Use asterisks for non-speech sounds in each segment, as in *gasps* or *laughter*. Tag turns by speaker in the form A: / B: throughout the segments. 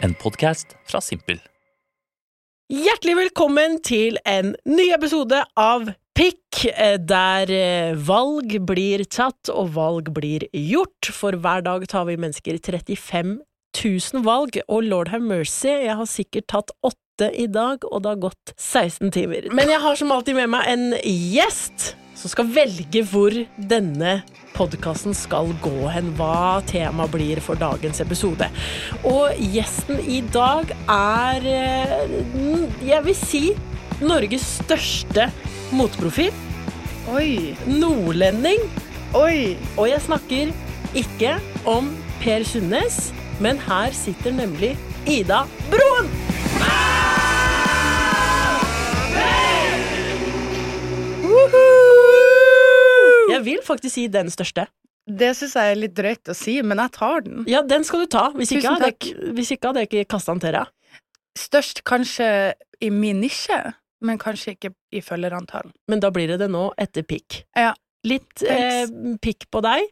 A: En podkast fra Simpel.
B: Hjertelig velkommen til en ny episode av Pikk, eh, der eh, valg blir tatt og valg blir gjort. For hver dag tar vi mennesker 35 000 valg, og lord have mercy, jeg har sikkert tatt åtte i dag, og det har gått 16 timer. Men jeg har som alltid med meg en gjest som skal velge hvor denne podkasten skal gå hen, hva temaet blir for dagens episode. Og gjesten i dag er eh, n- Jeg vil si Norges største motprofil.
C: Oi,
B: Nordlending.
C: oi.
B: Og jeg snakker ikke om Per Sundnes, men her sitter nemlig Ida Broen! Woohoo! Jeg vil faktisk si den største.
C: Det syns jeg er litt drøyt å si, men jeg tar den.
B: Ja, den skal du ta. Hvis ikke,
C: Tusen
B: hadde,
C: takk.
B: jeg- hvis ikke hadde jeg ikke kasta den til deg.
C: Størst kanskje i min nisje, men kanskje ikke i følgerantall.
B: Men da blir det det nå, etter pikk.
C: Ja.
B: Litt eh,
C: Thanks.
B: pikk på deg.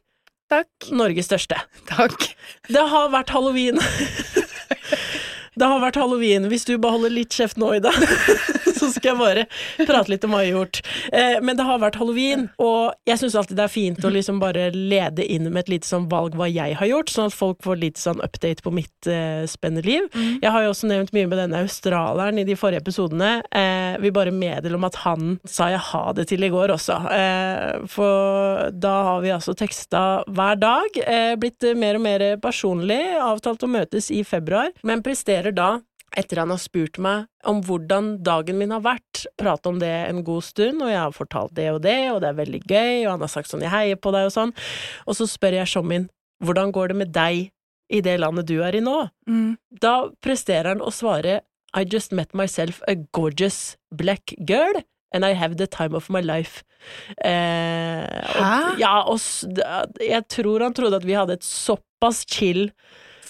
C: Takk.
B: Norges største.
C: Takk.
B: Det har vært halloween. *laughs* Det har vært halloween. Hvis du bare holder litt kjeft nå, Ida, *laughs* så skal jeg bare prate litt om hva jeg har gjort. Eh, Men det har vært halloween, og jeg syns alltid det er fint å liksom bare lede inn med et lite sånn valg hva jeg har gjort, sånn at folk får litt sånn update på mitt eh, spennende liv. Jeg har jo også nevnt mye med denne australieren i de forrige episodene. Eh, vil bare meddele om at han sa jeg ha det til i går også. Eh, for da har vi altså teksta hver dag, eh, blitt eh, mer og mer personlig, avtalt å møtes i februar, men presterer da etter han har spurt meg om hvordan dagen min har vært, prate om det en god stund, og jeg har fortalt det og det, og det er veldig gøy, og han har sagt sånn jeg heier på deg og sånn, og så spør jeg Shommin hvordan går det med deg i det landet du er i nå?
C: Mm.
B: Da presterer han å svare I just met myself a gorgeous black girl And I have the time of my life eh, Og,
C: Hæ?
B: ja, og s- d- jeg tror han trodde at vi hadde et såpass chill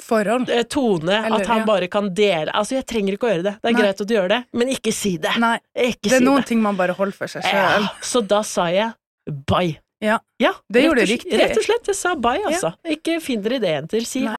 C: Forhold.
B: eh, tone
C: Eller,
B: At han
C: ja.
B: bare kan dele Altså jeg trenger ikke å gjøre det, det er
C: Nei.
B: greit at du gjør det Men ikke si det,
C: Nei,
B: ikke
C: det er
B: si
C: noen
B: det
C: ting man bare holder for seg sjøl.
B: ja, Så da sa jeg bye
C: Ja. Det
B: rett
C: gjorde
B: og
C: du
B: sl-
C: riktig.
B: Rett og slett, jeg sa bye altså Ikke finn dere det en til, si
C: Nei.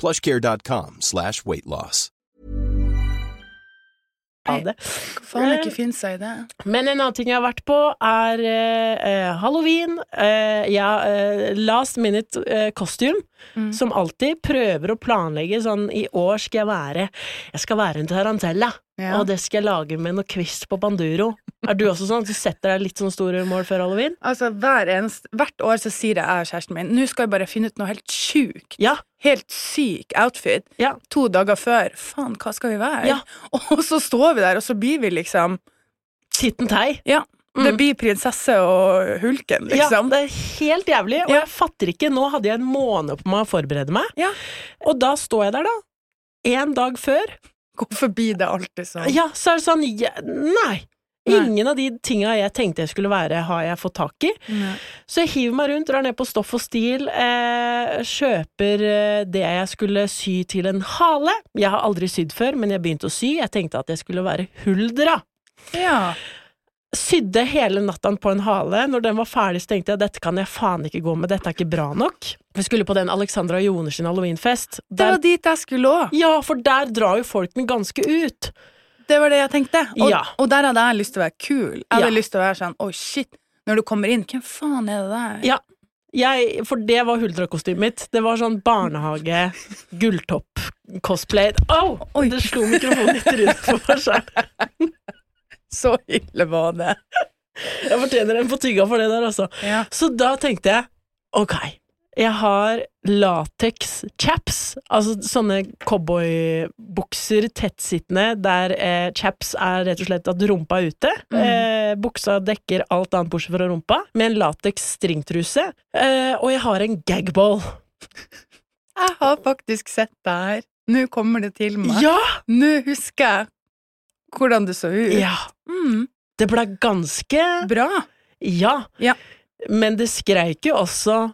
D: plushcare.com slash weight loss.
B: Ha det Eh.
C: Faen ikke finne seg i det.
B: Men en annen ting jeg har vært på, er eh, halloween. Eh, ja, eh, last minute eh, costume.
C: Mm.
B: Som alltid prøver å planlegge sånn I år skal jeg være Jeg skal være en tarantella.
C: Ja.
B: Og det skal jeg lage med noe kvist på banduro. Er du også sånn at du setter deg litt sånn store mål før halloween?
C: Altså, hver eneste, Hvert år så sier jeg og kjæresten min nå skal vi bare finne ut noe helt sjukt.
B: Ja.
C: Helt syk outfit.
B: Ja.
C: To dager før. Faen, hva skal vi være?
B: Ja.
C: *laughs* Og så står vi der, og så blir vi liksom
B: Titten tei.
C: Ja. Det blir prinsesse og hulken, liksom.
B: Mm. Ja, det er helt jævlig. Og
C: Ja.
B: jeg fatter ikke. Nå hadde jeg en måned på meg å forberede meg,
C: Ja.
B: og da står jeg der, da. En dag før.
C: Gå forbi det alltid sånn.
B: Ja, så er det sånn ja, Nei.
C: Nei.
B: Ingen av de tinga jeg tenkte jeg skulle være, har jeg fått tak i. Så jeg hiver meg rundt, drar ned på Stoff og Stil, eh, kjøper eh, det jeg skulle sy til en hale. Jeg har aldri sydd før, men jeg begynte å sy. Jeg tenkte at jeg skulle være huldra.
C: Ja.
B: Sydde hele natta på en hale. Når den var ferdig, så tenkte jeg dette kan jeg faen ikke gå med, dette er ikke bra nok. Vi skulle på den Alexandra Joner sin halloweenfest.
C: Det
B: Der,
C: var dit jeg skulle òg.
B: ja, for der drar jo folk den ganske ut.
C: Det var det jeg tenkte. Og,
B: Ja.
C: og der hadde jeg lyst til å være kul. Jeg hadde
B: Ja.
C: lyst til å være sånn Å, shit. Når du kommer inn, hvem faen er det der?
B: Ja. Jeg, for det var huldrekostymet mitt. Det var sånn barnehage, gulltopp-cosplay. Au!
C: Oi.
B: Det slo mikrofonen litt rundt på meg selv.
C: *laughs* Så ille var det.
B: Jeg fortjener en på tygga for det der, altså.
C: Ja.
B: Så da tenkte jeg ok, jeg har latex-chaps, altså sånne cowboybukser tettsittende der eh, chaps er rett og slett at rumpa er ute. Eh, buksa dekker alt annet bortsett fra rumpa, med en latex-stringtruse. Eh, og jeg har en gagball.
C: Jeg har faktisk sett deg her. Nå kommer det til meg.
B: Ja!
C: Nå husker jeg hvordan du så ut.
B: ja!
C: Mm,
B: Det ble ganske
C: bra.
B: Ja.
C: Ja.
B: Men det skreik jo også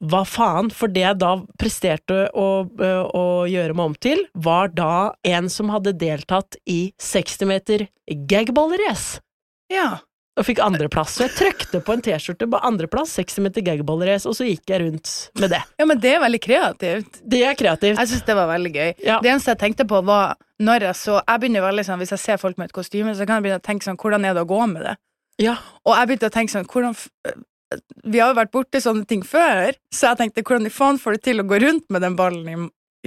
B: hva faen, for det jeg da presterte å, ø, å gjøre meg om til, var da en som hadde deltatt i 60 meter gagball-race.
C: Ja.
B: Og fikk andreplass. Så jeg trykte på en T-skjorte på andreplass, 60 meter gagball-race, og så gikk jeg rundt med det.
C: ja, men det er veldig kreativt.
B: Det er kreativt.
C: Jeg syns det var veldig gøy.
B: Ja.
C: Det eneste jeg tenkte på, var når jeg så Jeg begynner veldig sånn, Hvis jeg ser folk med et kostyme, så kan jeg begynne å tenke sånn Hvordan er det å gå med det?
B: Ja.
C: Og jeg begynte å tenke sånn hvordan, f- Vi har jo vært borti sånne ting før, så jeg tenkte hvordan i faen får du til å gå rundt med den ballen i,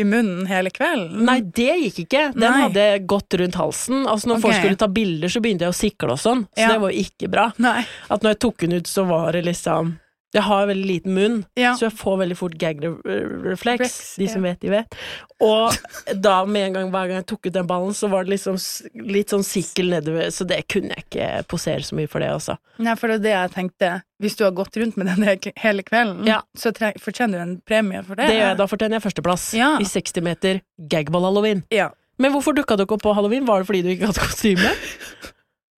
C: i munnen hele kvelden?
B: Nei, det gikk ikke. Den
C: Nei.
B: hadde gått rundt halsen. Altså, når folk
C: Ok.
B: skulle ta bilder, så begynte jeg å sikle og sånn, så
C: Ja.
B: det var jo ikke bra.
C: Nei.
B: At når jeg tok den ut, så var det liksom Jeg har veldig liten munn,
C: Ja.
B: så jeg får veldig fort gag-refleks.
C: Reflex,
B: De som
C: ja.
B: vet, de vet. Og da med en gang hver gang jeg tok ut den ballen, så var det liksom s- litt sånn sikkel nedover, så det kunne jeg ikke posere så mye for det, altså.
C: Nei, for det er det jeg tenkte. Hvis du har gått rundt med den he- hele kvelden,
B: Ja.
C: så tre- fortjener du en premie for det.
B: Det gjør jeg. Da fortjener jeg førsteplass
C: Ja.
B: i 60 meter gagball-halloween.
C: Ja.
B: Men hvorfor dukka dere opp på halloween? Var det fordi du ikke hadde
C: *laughs*
B: kostyme?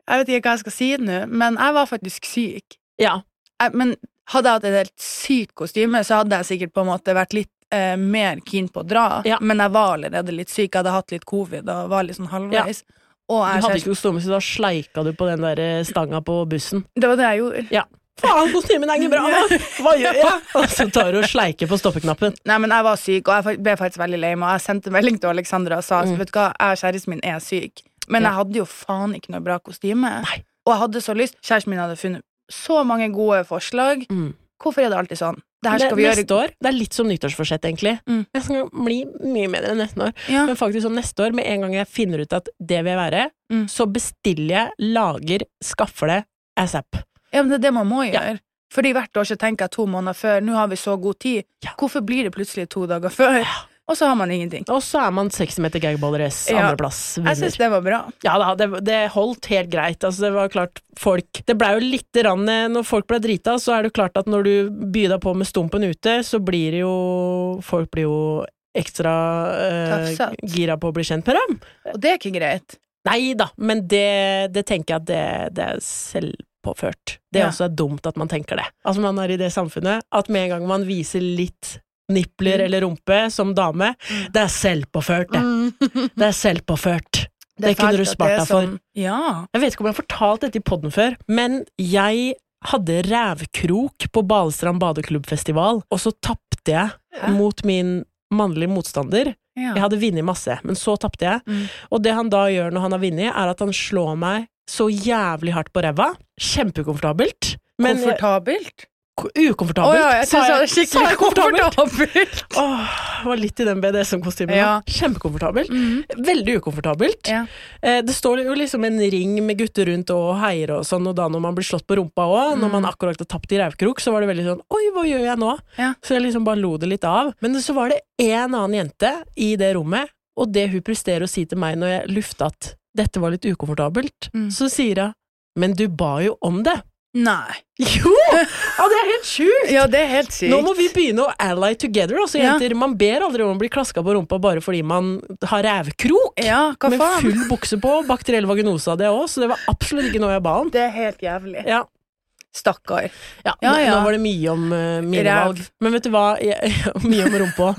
C: Jeg vet ikke hva jeg skal si nå, men jeg var faktisk syk.
B: Ja.
C: Jeg, Eh, men hadde jeg hatt et helt sykt kostyme, så hadde jeg sikkert på en måte vært litt eh, mer keen på å dra,
B: Ja.
C: men jeg var allerede litt syk. Jeg hadde hatt litt covid og var litt sånn halvveis. Og
B: Du
C: jeg
B: hadde
C: ser-
B: ikke kostyme, så da sleika du på den der eh, stanga på bussen.
C: Det var det jeg gjorde. *laughs*
B: Ja. Faen, kostymen er ikke bra! da. Hva gjør jeg? Og så tar du og sleiker på stoppeknappen.
C: Nei, men jeg var syk, og jeg fa- ble faktisk veldig lei meg. og Jeg sendte melding til Alexandra og sa vet du hva, jeg og kjæresten min er syk. Men
B: Mm. Ja.
C: jeg hadde jo faen ikke noe bra kostyme. Og jeg hadde så lyst. Kjæresten min hadde funnet så mange gode forslag.
B: Mm.
C: Hvorfor er det alltid sånn? Det her
B: Det,
C: skal vi gjøre.
B: neste år, det er litt som nyttårsforsett, egentlig.
C: Mm.
B: Jeg skal bli mye bedre neste år.
C: Ja.
B: Men faktisk sånn neste år, med en gang jeg finner ut at det vil jeg være,
C: Mm.
B: så bestiller jeg, lager, skaffer det asap.
C: ja, men det er det man må
B: Ja.
C: gjøre. Fordi hvert år så tenker jeg to måneder før, nå har vi så god tid.
B: Ja.
C: Hvorfor blir det plutselig to dager før? Og så har man ingenting.
B: Og så er man 60 meter gagball race,
C: Ja.
B: andreplass,
C: Jeg
B: vinner.
C: syns det var bra.
B: Ja da, det, det holdt helt greit. Altså, det var klart, folk Det blei jo lite grann eh, Når folk ble drita, så er det jo klart at når du byr deg på med stumpen ute, så blir det jo Folk blir jo ekstra eh,
C: Tafsat.
B: gira på å bli kjent med dem.
C: Og det er ikke greit.
B: Nei da, men det, det tenker jeg at det, det er selvpåført. Det er
C: Ja.
B: også dumt at man tenker det. Altså Man er i det samfunnet at med en gang man viser litt nipler
C: Mm.
B: eller rumpe som dame, det er selvpåført, det. Det er selvpåført. Mm. Det,
C: Mm-hmm. er
B: kunne
C: fælt
B: du spart
C: at det er
B: deg for.
C: sånn. Ja.
B: Jeg vet ikke om jeg har fortalt dette i podden før, men jeg hadde rævkrok på Balestrand badeklubbfestival, og så tapte jeg
C: Hæ?
B: mot min mannlige motstander.
C: ja.
B: Jeg hadde vunnet masse, men så tapte jeg.
C: Mm.
B: Og det han da gjør når han har vunnet, er at han slår meg så jævlig hardt på ræva. Kjempekomfortabelt. Men
C: Komfortabelt?
B: Ko-
C: Å
B: ukomfortabelt.
C: ja, jeg
B: Sa
C: syns det var
B: sa jeg
C: skikkelig komfortabelt.
B: *laughs* Åh, var litt i den BDSM-kostymen.
C: Ja.
B: da. Kjempekomfortabelt.
C: Mhm.
B: Veldig ukomfortabelt.
C: Ja.
B: Eh, Det står jo liksom en ring med gutter rundt og heier og sånn, og da når man blir slått på rumpa òg,
C: Mhm.
B: når man akkurat har tapt i revkrok, så var det veldig sånn Oi, hva gjør jeg nå?
C: Ja.
B: Så jeg liksom bare lo det litt av. Men så var det én annen jente i det rommet, og det hun presterer å si til meg når jeg lufta at dette var litt ukomfortabelt,
C: Mm.
B: så sier hun Men du ba jo om det.
C: Nei.
B: Jo! Ja, det er helt sjukt!
C: *laughs* Ja, det er helt sykt.
B: Nå må vi begynne å ally together, altså,
C: Ja.
B: jenter. Man ber aldri om å bli klaska på rumpa bare fordi man har rævkrok.
C: Ja, hva
B: Med
C: faen?
B: full bukse på, bakteriell vaginose av det òg, så det var absolutt ikke noe jeg ba om.
C: Det er helt jævlig.
B: Ja,
C: Stakkar.
B: ja,
C: Ja,
B: nå-
C: ja.
B: Nå var det mye om eh, mine
C: Ræv.
B: valg. Men vet du hva jeg, *laughs* Mye om rumpa.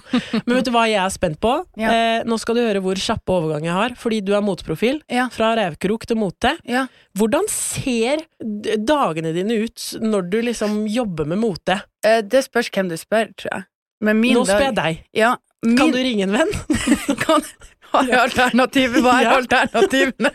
B: Men vet du hva jeg er spent på?
C: Ja.
B: Eh, nå skal du høre hvor kjappe overgang jeg har, fordi du er moteprofil.
C: Ja.
B: Fra rævkrok til mote.
C: Ja.
B: Hvordan ser d- dagene dine ut når du liksom jobber med mote?
C: Eh, Det spørs hvem du spør, tror jeg. Men min
B: Nå spør jeg
C: dag
B: deg.
C: ja, min...
B: Kan du ringe *laughs* en venn?
C: *laughs* kan... Har jeg alternativer? Hva
B: *laughs*
C: er
B: Ja.
C: alternativene?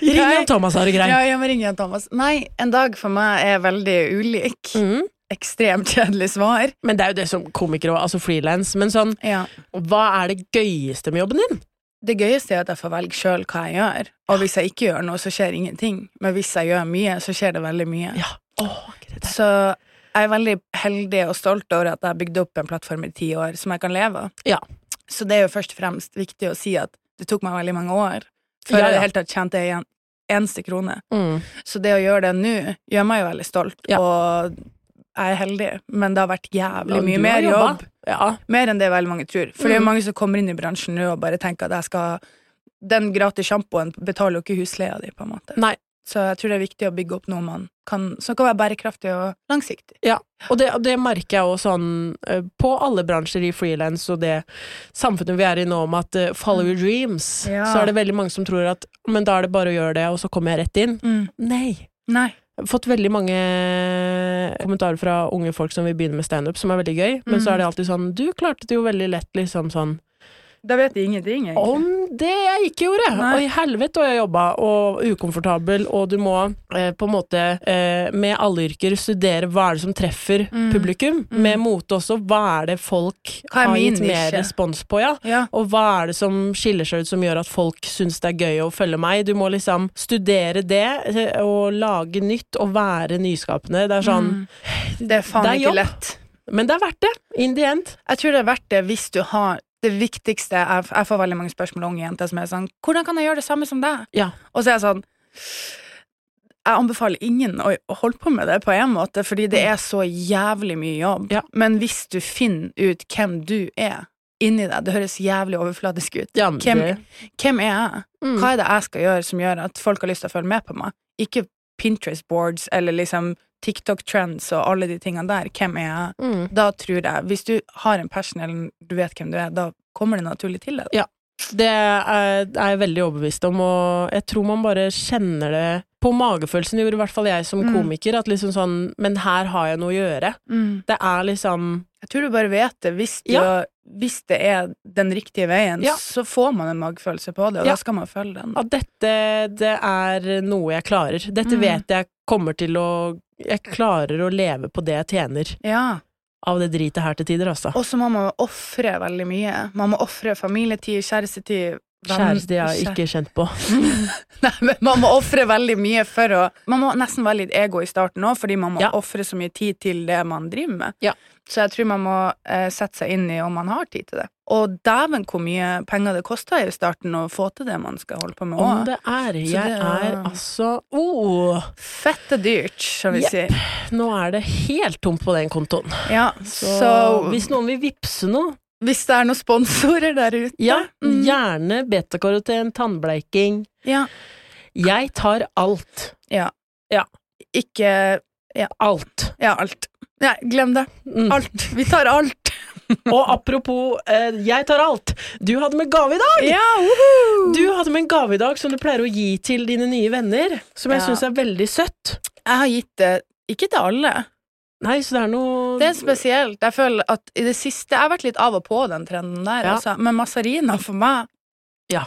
B: Ring
C: Nei.
B: Jan Thomas har det greit.
C: Ja, jeg må ringe Jan Thomas. Nei, en dag for meg er veldig ulik.
B: Mhm.
C: Ekstremt kjedelig svar.
B: Men det er jo det som komikere og altså frilans. Men sånn,
C: Ja.
B: hva er det gøyeste med jobben din?
C: Det gøyeste er at jeg får velge sjøl hva jeg gjør. Og hvis jeg ikke gjør noe, så skjer ingenting. Men hvis jeg gjør mye, så skjer det veldig mye.
B: Ja. Åh, akkurat det.
C: Så jeg er veldig heldig og stolt over at jeg har bygd opp en plattform i ti år som jeg kan leve av.
B: Ja.
C: Så det er jo først og fremst viktig å si at det tok meg veldig mange år før
B: Ja, ja.
C: jeg i det hele tatt tjente en eneste krone.
B: Mm.
C: Så det å gjøre det nå gjør meg jo veldig stolt,
B: Ja.
C: og jeg er heldig. Men det har vært jævlig
B: Ja, du
C: mye
B: har Mm.
C: mer
B: jobba.
C: jobb.
B: Ja.
C: Mer enn det veldig mange tror. For det er jo mange som kommer inn i bransjen nå og bare tenker at jeg skal den gratis sjampoen betaler jo ikke husleia di, på en måte.
B: Nei.
C: Så jeg tror det er viktig å bygge opp noe man kan, som kan være bærekraftig og langsiktig.
B: Ja, og det, og det merker jeg også sånn eh, på alle bransjer i frilans og det samfunnet vi er i nå om at eh, follow your dreams,
C: Ja.
B: så er det veldig mange som tror at men da er det bare å gjøre det, og så kommer jeg rett inn. Nei.
C: Nei.
B: Jeg har fått veldig mange eh, kommentarer fra unge folk som vil begynne med standup, som er veldig gøy, men så er det alltid sånn Du klarte det jo veldig lett, liksom sånn
C: Da vet de ingenting, egentlig.
B: Om det jeg ikke gjorde!
C: Nei.
B: Og i helvete og jeg jobba, og ukomfortabel, og du må eh, på en måte eh, med alle yrker studere hva er det som treffer publikum. Med mote også, hva er det folk
C: Mm. Hva er
B: har
C: min
B: gitt mer
C: nisje?
B: respons på, ja.
C: Ja.
B: Og hva er det som skiller seg ut som gjør at folk syns det er gøy å følge meg? Du må liksom studere det, eh, og lage nytt, og være nyskapende. Det er sånn
C: Mm. Det er faen
B: Det er
C: ikke
B: jobb.
C: lett.
B: Men det er verdt det, in the end.
C: Jeg tror det er verdt det hvis du har det viktigste Jeg, jeg får veldig mange spørsmål av unge jenter som er sånn 'Hvordan kan jeg gjøre det samme som deg?'
B: Ja.
C: Og så er jeg sånn Jeg anbefaler ingen å å holde på med det på en måte, fordi det er så jævlig mye jobb.
B: Ja.
C: Men hvis du finner ut hvem du er inni deg Det høres jævlig overfladisk ut.
B: Ja, men
C: hvem,
B: det-
C: hvem er jeg?
B: Mm.
C: Hva er det jeg skal gjøre som gjør at folk har lyst til å følge med på meg? Ikke Pinterest-boards eller liksom TikTok-trends og alle de tingene der. Hvem er jeg?
B: Mm.
C: Da tror jeg, hvis du har en passion eller du vet hvem du er, da kommer det naturlig til deg.
B: Det er, er jeg veldig overbevist om, og jeg tror man bare kjenner det på magefølelsen, gjorde i hvert fall jeg som
C: Mm.
B: komiker, at liksom sånn Men her har jeg noe å gjøre.
C: Mm.
B: Det er liksom
C: Jeg tror du bare vet det. Hvis, du,
B: Ja.
C: hvis det er den riktige veien,
B: Ja.
C: så får man en magefølelse på det, og
B: Ja.
C: da skal man følge den.
B: at dette det er noe jeg klarer. Dette
C: Mm.
B: vet jeg kommer til å Jeg klarer å leve på det jeg tjener
C: Ja.
B: av det dritet her til tider, altså.
C: Og så må man ofre veldig mye. Man må ofre familietid, kjærestetid venn-
B: Kjæreste jeg har
C: kjæ-
B: ikke kjent på.
C: *laughs* Nei, men man må ofre veldig mye for å Man må nesten være litt ego i starten òg, fordi man må
B: Ja.
C: ofre så mye tid til det man driver med.
B: Ja.
C: Så jeg tror man må eh, sette seg inn i om man har tid til det. Og dæven hvor mye penger det koster i starten å få til det man skal holde på med
B: Om
C: òg.
B: det er
C: Så
B: Jeg er
C: det er-
B: altså oh,
C: Fette dyrt, skal vi
B: Jepp.
C: si.
B: Nå er det helt tomt på den kontoen.
C: Ja,
B: Så,
C: så, hvis,
B: hvis noen vil vippse noe
C: det er noen sponsorer der ute
B: Ja,
C: mm,
B: gjerne betakaroten, tannbleiking.
C: ja.
B: Jeg tar alt.
C: ja.
B: Ja.
C: Ikke
B: Alt.
C: Ja, alt. Nei, glem det.
B: Mm.
C: Alt. Vi tar alt.
B: *laughs* Og apropos eh, jeg tar alt, du hadde med gave i dag!
C: Ja, woohoo!
B: Du hadde med en gave i dag som du pleier å gi til dine nye venner, som jeg
C: Ja.
B: syns er veldig søtt.
C: Jeg har gitt det ikke til alle.
B: Nei, så det er noe
C: Det er spesielt. Jeg føler at i det siste Jeg har vært litt av og på den trenden der,
B: Ja.
C: altså. Men mazarina for meg,
B: Ja.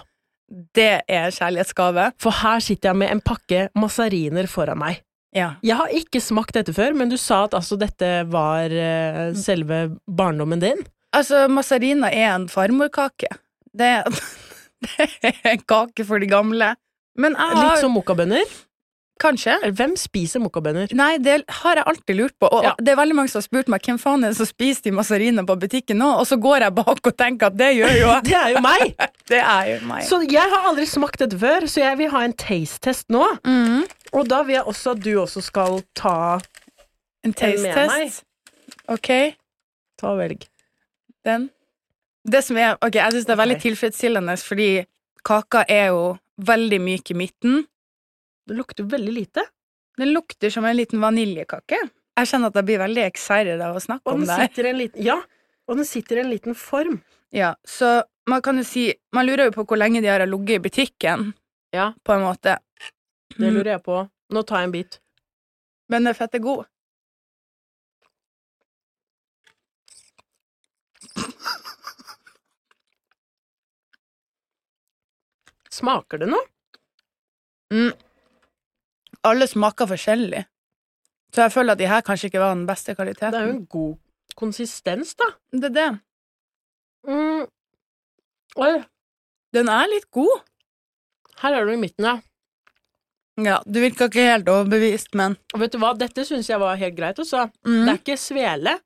C: det er kjærlighetsgave.
B: For her sitter jeg med en pakke mazariner foran meg.
C: Ja.
B: Jeg har ikke smakt dette før, men du sa at altså dette var eh, selve barndommen din.
C: Altså, mazarina er en farmorkake. Det, *laughs* det er en kake for de gamle. Men jeg har
B: Litt som mokkabønner.
C: Kanskje?
B: Hvem spiser mokkabønner?
C: Nei, det har jeg alltid lurt på. Og
B: Ja.
C: det er veldig mange som har spurt meg hvem faen er det som spiser de mazarina på butikken nå, og så går jeg bak og tenker at det gjør
B: *laughs*
C: jo jeg.
B: Det er jo meg!
C: *laughs* Det er jo meg.
B: Så jeg har aldri smakt dette før, så jeg vil ha en taste-test nå.
C: Mm.
B: Og da vil jeg også at du også skal ta
C: en
B: med meg.
C: taste-test. Ok,
B: Ta og velg.
C: den. Det som er, ok, jeg synes det er veldig
B: Ok.
C: tilfredsstillende, fordi kaka er jo veldig myk i midten.
B: Det lukter veldig lite.
C: Den lukter som en liten vaniljekake. Jeg kjenner at jeg blir veldig excited av å snakke
B: Og
C: om
B: den
C: det her.
B: sitter i en liten Ja, og den sitter i en liten form.
C: Ja, så man kan jo si, man lurer jo på hvor lenge de har ligget i butikken,
B: Ja.
C: på en måte. Mm.
B: Det lurer jeg på. Nå tar jeg en bit.
C: Men den er fette god.
B: Smaker det noe?
C: Alle smaker forskjellig. Så jeg føler at de her kanskje ikke var den beste kvaliteten.
B: Det er jo en god konsistens, da.
C: det, er det. Mm.
B: Oi,
C: Den er litt god.
B: her er du i midten, ja.
C: Ja, du virka ikke helt overbevist, men
B: Og vet du hva, dette syns jeg var helt greit også.
C: Mm.
B: Det er ikke svele.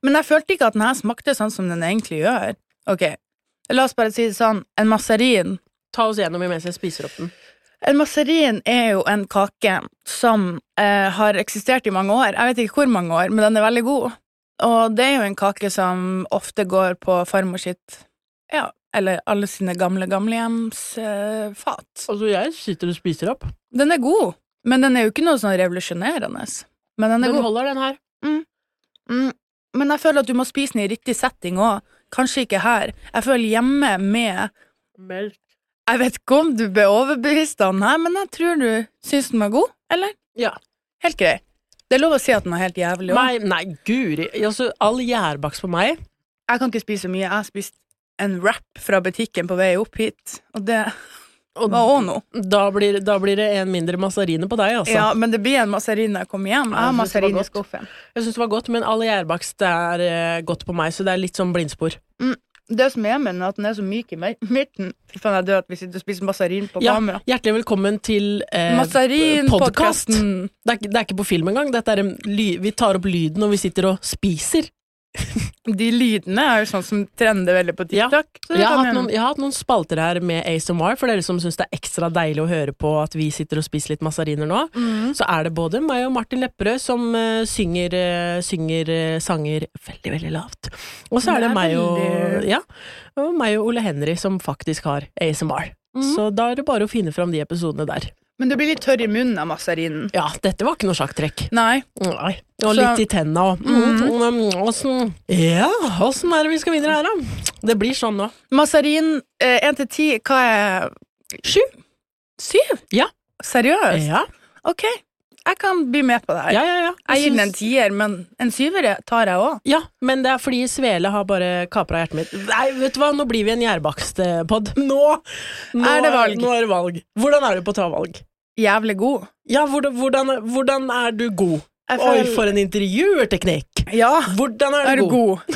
C: Men jeg følte ikke at den her smakte sånn som den egentlig gjør. Ok, la oss bare si det sånn. En masserin
B: Ta oss gjennom imens jeg spiser opp den.
C: En masserin er jo en kake som eh, har eksistert i mange år. Jeg vet ikke hvor mange år, men den er veldig god. Og det er jo en kake som ofte går på farmor sitt Ja, eller alle sine gamle gamlehjemsfat. Eh, fat.
B: Altså, jeg sitter og spiser opp.
C: den er god, men den er jo ikke noe sånn revolusjonerende. Men den er
B: Den
C: god.
B: holder, den her.
C: Mm. Men jeg føler at du må spise den i riktig setting òg. Kanskje ikke her. Jeg føler hjemme med
B: Melk.
C: Jeg vet ikke om du ble overbevist av den her, men jeg tror du syns den var god, eller?
B: Ja.
C: Helt grei. Det er lov å si at den er helt jævlig. også.
B: Nei, nei, guri. Altså, all gjærbakst på meg
C: Jeg kan ikke spise så mye. Jeg har spist en wrap fra butikken på vei opp hit, og det
B: Og
C: var òg noe.
B: da blir, da blir det en mindre mazarine på deg, altså.
C: Ja, men det blir en masserin når jeg kommer hjem. Jeg har
B: Jeg synes det var
C: masserin i
B: godt.
C: skuffen.
B: Jeg syns det var godt, men all gjærbakst er eh, godt på meg, så det er litt sånn blindspor.
C: Det som er med den, er at den er så myk i mi- midten. Fy faen, jeg dør at vi sitter og spiser masserin på
B: Ja,
C: kamera.
B: hjertelig velkommen til eh, podcast.
C: Masserin-podkasten.
B: Det, er ikke- det er ikke på film engang. Dette er en ly vi tar opp lyden når vi sitter og spiser.
C: De lydene er jo sånn som trender veldig på
B: Ja.
C: TikTok. så det
B: Jeg har,
C: kan
B: hatt
C: hende.
B: noen, jeg har hatt noen spalter her med ASMR, for dere som syns det er ekstra deilig å høre på at vi sitter og spiser litt mazariner nå.
C: Mm.
B: Så er det både meg og Martin Lepperød som eh, synger, eh, synger eh, sanger veldig, veldig lavt. Og så er
C: Det
B: det
C: er
B: meg og,
C: veldig-
B: ja, og meg og Ole Henry som faktisk har ASMR.
C: Mm.
B: Så da er det bare å finne fram de episodene der.
C: Men du blir litt tørr i munnen av mazarinen.
B: Ja, dette var ikke noe sjakktrekk.
C: Nei.
B: Nei. Og
C: Så- Mm.
B: litt i tenna Mm, òg. Åssen Ja, åssen er det vi skal videre her, da? Det blir sånn nå.
C: Mazarin eh, 1 til 10, hva er
B: Sju.
C: 7?
B: Ja.
C: Seriøst?
B: Ja,
C: Ok, jeg kan bli med på det her.
B: ja, ja. ja.
C: Jeg gir den en
B: syns-
C: tier, men en syver tar jeg òg.
B: Ja, men det er fordi Svele har bare kapra hjertet mitt. Nei, vet du hva, nå blir vi en gjærbakstpod. Nå, nå
C: Er det valg?
B: Nå er det valg. Hvordan er du på å ta valg?
C: Jævlig god.
B: Ja, hvordan, hvordan, hvordan er du god?
C: Jeg
B: Oi,
C: føler-
B: for en intervjuerteknikk!
C: Ja,
B: Hvordan er du,
C: er du
B: god?
C: god?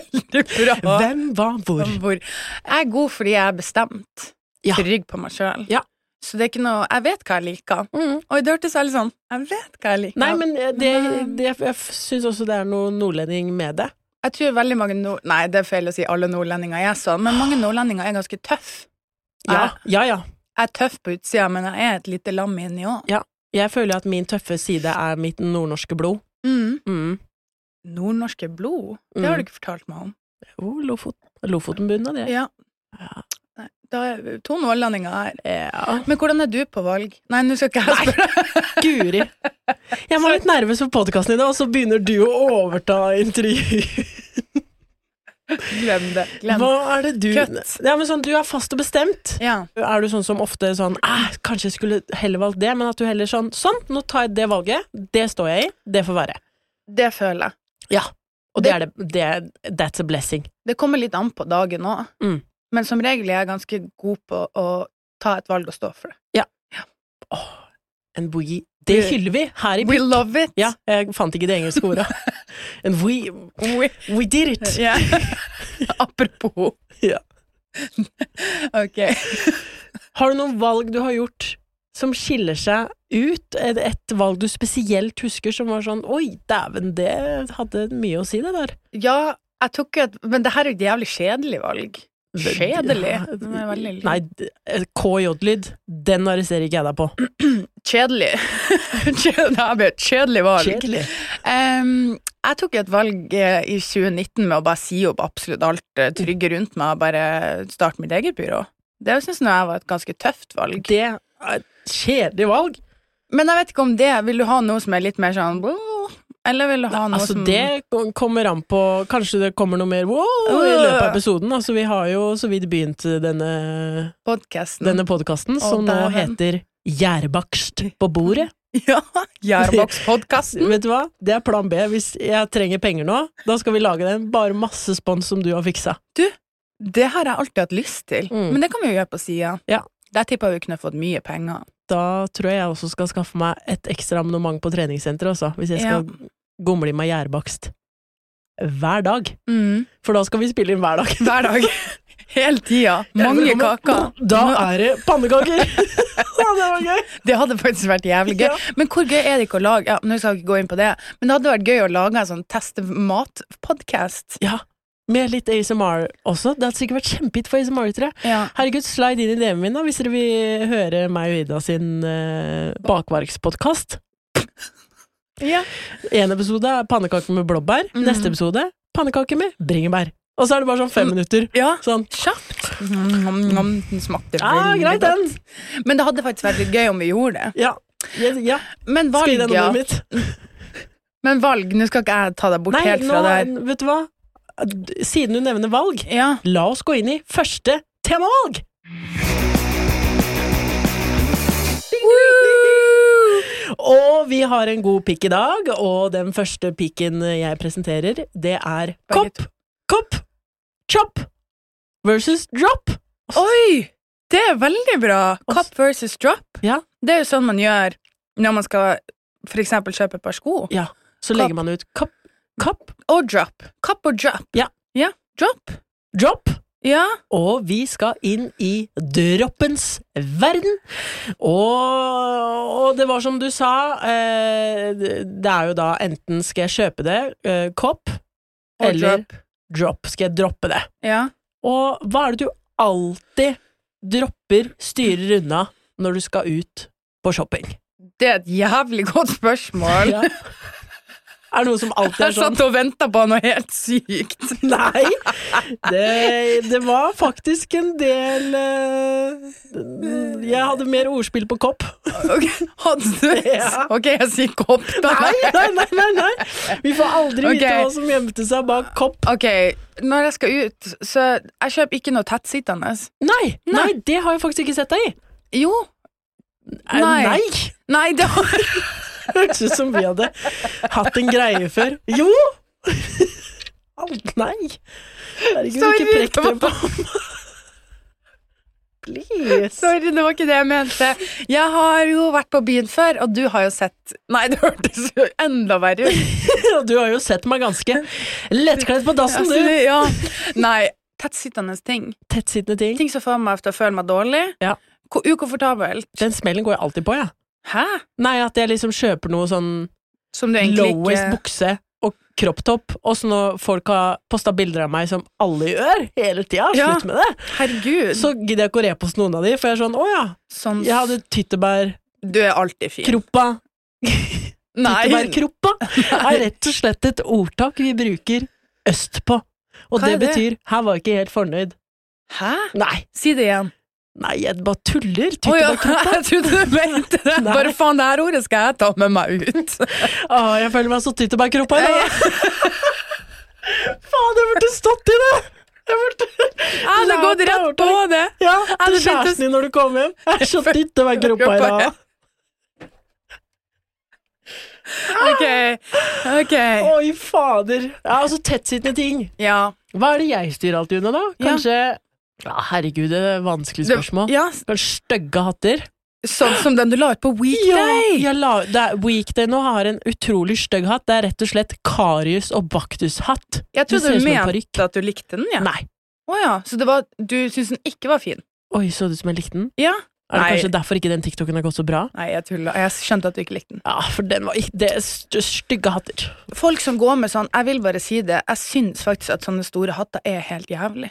C: *laughs* Veldig bra.
B: Hvem, hva, hvor?
C: Hvor? Jeg er god fordi jeg er bestemt.
B: Ja.
C: Trygg på meg sjøl.
B: Ja.
C: Så det er ikke noe Jeg vet hva jeg liker.
B: Mm.
C: Oi, det hørtes veldig sånn Jeg vet hva jeg liker.
B: Nei, men eh, det, det, jeg syns også det er noe nordlending med det.
C: Jeg tror veldig mange nord... Nei, det er feil å si alle nordlendinger er sånn, men mange nordlendinger er ganske tøffe.
B: Ja, ja, ja.
C: Jeg er tøff på utsida, men jeg er et lite lam inni òg.
B: ja. Jeg føler at min tøffe side er mitt nordnorske blod.
C: Mm.
B: Mm.
C: Nordnorske blod? Det har du ikke fortalt meg om.
B: Oh, Lofot. Lofotenbunnen av det.
C: Ja. Nei, da er to nordlendinger her.
B: Ja.
C: Men hvordan er du på valg? Nei, nå skal ikke jeg spørre.
B: Guri. Jeg var litt nervøs for podkasten i dag, og så begynner du å overta intervju.
C: Glem det. Glem
B: Hva
C: det.
B: er det du
C: Kutt.
B: Ja, men sånn, Du er fast og bestemt.
C: Ja.
B: Er du sånn som ofte sånn «Ah, Kanskje jeg skulle heller valgt det, men at du heller sånn Sånn, nå tar jeg det valget. Det står jeg i. Det får være.
C: Det føler jeg.
B: Ja. Og det er det, det er, That's a blessing.
C: Det kommer litt an på dagen òg,
B: Mm.
C: men som regel er jeg ganske god på å ta et valg og stå for det.
B: En we Det
C: We-
B: hyller vi her i
C: We love it!
B: Ja, jeg fant ikke det engelske *laughs* ordet. And we *laughs*
C: We-
B: We did it! *laughs*
C: Ja. Apropos.
B: Ja.
C: Ok.
B: Har du noen valg du har gjort som skiller seg ut? Et, et valg du spesielt husker som var sånn Oi, dæven, det hadde mye å si, det der.
C: Ja, jeg tok jo et Men det her er jo et jævlig kjedelig valg. Kjedelig?
B: Ja,
C: Den er veldig
B: Nei, d- eh, KJ-lyd, den arresterer ikke jeg deg på.
C: Kjedelig. *laughs* Kjedelig. Det her blir et kjedelig valg.
B: Kjedelig.
C: Em, jeg tok jo et valg eh, i 2019 med å bare si opp absolutt alt eh, trygge rundt meg og bare starte mitt eget byrå. Det syns jeg var et ganske tøft valg.
B: Det er et kjedelig valg.
C: Men jeg vet ikke om det Vil du ha noe som er litt mer sånn «Wow», Eller vil du ha noe
B: Altså,
C: som
B: det kom- kommer an på Kanskje det kommer noe mer wow i løpet av episoden. Altså, vi har jo så vidt begynt denne
C: podkasten
B: denne podkasten,
C: Mm. Å,
B: som nå
C: dæven.
B: heter Gjærbakst på bordet.
C: *laughs* Ja! Gjærboks-podkasten.
B: Vet du hva? Det er plan B. Hvis jeg trenger penger nå, da skal vi lage den. Bare masse spons som du har fiksa.
C: Det har jeg alltid hatt lyst til,
B: Mm.
C: men det kan vi jo gjøre på sida.
B: Ja.
C: Der tipper jeg vi kunne fått mye penger.
B: Da tror jeg jeg også skal skaffe meg et ekstra abonnement på treningssenteret, altså, hvis jeg skal gomle i meg gjærbakst. Hver dag.
C: Mm.
B: For da skal vi spille inn hver dag.
C: Hver dag. *laughs* Hele tida. Mange
B: *laughs* Jeg kommer-
C: kaker.
B: Da er det pannekaker!
C: *laughs*
B: ja, det var gøy!
C: Det hadde faktisk vært jævlig gøy.
B: Ja.
C: Men hvor gøy er det ikke å lage Ja, nå skal jeg ikke gå inn på det, men det hadde vært gøy å lage en sånn teste-mat-podkast.
B: Ja, Med litt ASMR også. Det hadde sikkert vært kjempehit for ASMR-ere.
C: Ja.
B: Herregud, slide inn i DM-en min da, hvis dere vil høre meg og Ida sin uh, bakverkspodkast. En episode er pannekaker med blåbær,
C: Mhm.
B: neste episode pannekaker med bringebær. Og så er det bare sånn fem
C: Mm.
B: minutter.
C: Ja.
B: Sånn.
C: Kjapt. Nom, nom, den smakte
B: Ja,
C: veldig
B: Ah, greit,
C: godt.
B: den!
C: Men det hadde faktisk vært litt gøy om vi gjorde det.
B: Ja. ja, ja.
C: Men valg,
B: Skriv det
C: ja.
B: nummeret mitt.
C: Men valg, nå skal ikke jeg ta deg bort
B: Nei,
C: helt fra
B: nå,
C: det her.
B: vet du hva? Siden du nevner valg,
C: Ja.
B: la oss gå inn i første temavalg! Og vi har en god pikk i dag, og den første pikken jeg presenterer, det er kopp, kopp, chop versus drop.
C: Oi! Det er veldig bra.
B: Og
C: Cup versus drop.
B: Ja.
C: Det er jo sånn man gjør når man skal for eksempel kjøpe et par sko.
B: Ja, så
C: Kopp.
B: legger man ut kopp, kopp,
C: Og drop. Cup og drop.
B: Ja.
C: Ja. Drop.
B: drop.
C: Ja.
B: Og vi skal inn i droppens verden. Og, og det var som du sa, eh, det er jo da enten skal jeg kjøpe det, eh, kopp,
C: Og
B: eller
C: drop.
B: drop. Skal jeg droppe det?
C: Ja.
B: Og hva er det du alltid dropper, styrer unna, når du skal ut på shopping?
C: Det er et jævlig godt spørsmål.
B: Ja. Er det noe som alltid
C: *laughs* Jeg
B: er sånn?
C: satt og venta på noe helt
B: *laughs*
C: sykt.
B: Nei! Det, det var faktisk en del eh, Jeg hadde mer ordspill på kopp. *laughs*
C: Ok, Hadde du
B: Ja.
C: Ok, jeg sier kopp, da.
B: Nei, nei, nei, nei, nei. Vi får aldri vite
C: Ok.
B: hva som gjemte seg bak kopp.
C: Ok, når jeg skal ut, så jeg kjøper ikke noe tettsittende.
B: Nei, nei, det har jeg faktisk ikke sett deg i.
C: Jo.
B: Eh,
C: Nei.
B: nei. *laughs*
C: Nei, det har
B: Hørtes ut som vi hadde hatt en greie før. Jo! *laughs* Au, Nei! Herregud,
C: Sorry,
B: ikke prekk
C: det
B: dere
C: var-
B: på Please!
C: *laughs* Sorry, det var ikke det jeg mente. Jeg har jo vært på byen før, og du har jo sett Nei, det hørtes jo enda verre ut.
B: Og Du har jo sett meg ganske lettkledd på dassen, du.
C: Altså, ja. Nei, tettsittende ting.
B: Tettsittende ting.
C: Ting som får meg til å føle meg dårlig.
B: Ja.
C: Ko- Ukomfortabelt.
B: Den smellen går jeg alltid på, jeg. Ja.
C: Hæ?
B: Nei, at jeg liksom kjøper noe sånn
C: Som du egentlig
B: lowest
C: ikke
B: bukse og kropptopp, og så når folk har posta bilder av meg som alle gjør hele tida,
C: Ja.
B: slutt med det,
C: Herregud.
B: så gidder jeg ikke å reposte noen av de, for jeg er sånn å ja,
C: sånn
B: jeg hadde tyttebær,
C: Du er alltid fin.
B: kroppa, *laughs*
C: Nei.
B: tyttebærkroppa, er rett og slett et ordtak vi bruker øst på. Og
C: Hva
B: det,
C: er det?
B: betyr 'her var jeg ikke helt fornøyd'.
C: Hæ?
B: Nei,
C: Si det igjen.
B: nei, jeg bare tuller.
C: Å *laughs* ja,
B: Tyttebærkroppa.
C: jeg trodde du mente det.
B: *laughs* Nei.
C: Bare faen, det her ordet skal jeg ta med meg *laughs* ut.
B: Å, Ah, jeg føler meg så tyttebærkroppa i dag. *laughs* Faen, jeg burde stått i det! Jeg burde
C: Jeg hadde gått rett på det.
B: Ja, til
C: det er fint å-
B: kjæresten din når du kom hjem. Jeg er så dytt over kroppa i dag.
C: Ok, ok.
B: Oi, fader. Ja, altså tettsittende ting.
C: Ja.
B: Hva er det jeg styrer alltid unna, da?
C: Ja.
B: Kanskje ja, Herregud, det er et vanskelig
C: Det-
B: spørsmål.
C: Ja,
B: Kanskje stygge hatter?
C: sånn som den du la ut
B: Ja,
C: på Weekday.
B: jeg la, det er, Weekday nå har en utrolig stygg hatt. Det er rett og slett karius- og baktushatt.
C: Jeg
B: Det
C: trodde
B: ser ut
C: du
B: som en parykk.
C: mente at du likte den, ja.
B: Nei.
C: Å ja, så det var, du syntes den ikke var fin?
B: Oi, så det ut som jeg likte den?
C: Ja.
B: Er det
C: Nei.
B: kanskje derfor ikke den TikToken har gått så bra?
C: Nei, jeg tuller. Jeg skjønte at du ikke likte den.
B: Ja, for den var ikke Det er st- stygge hatter.
C: Folk som går med sånn, jeg vil bare si det, jeg syns faktisk at sånne store hatter er helt jævlig.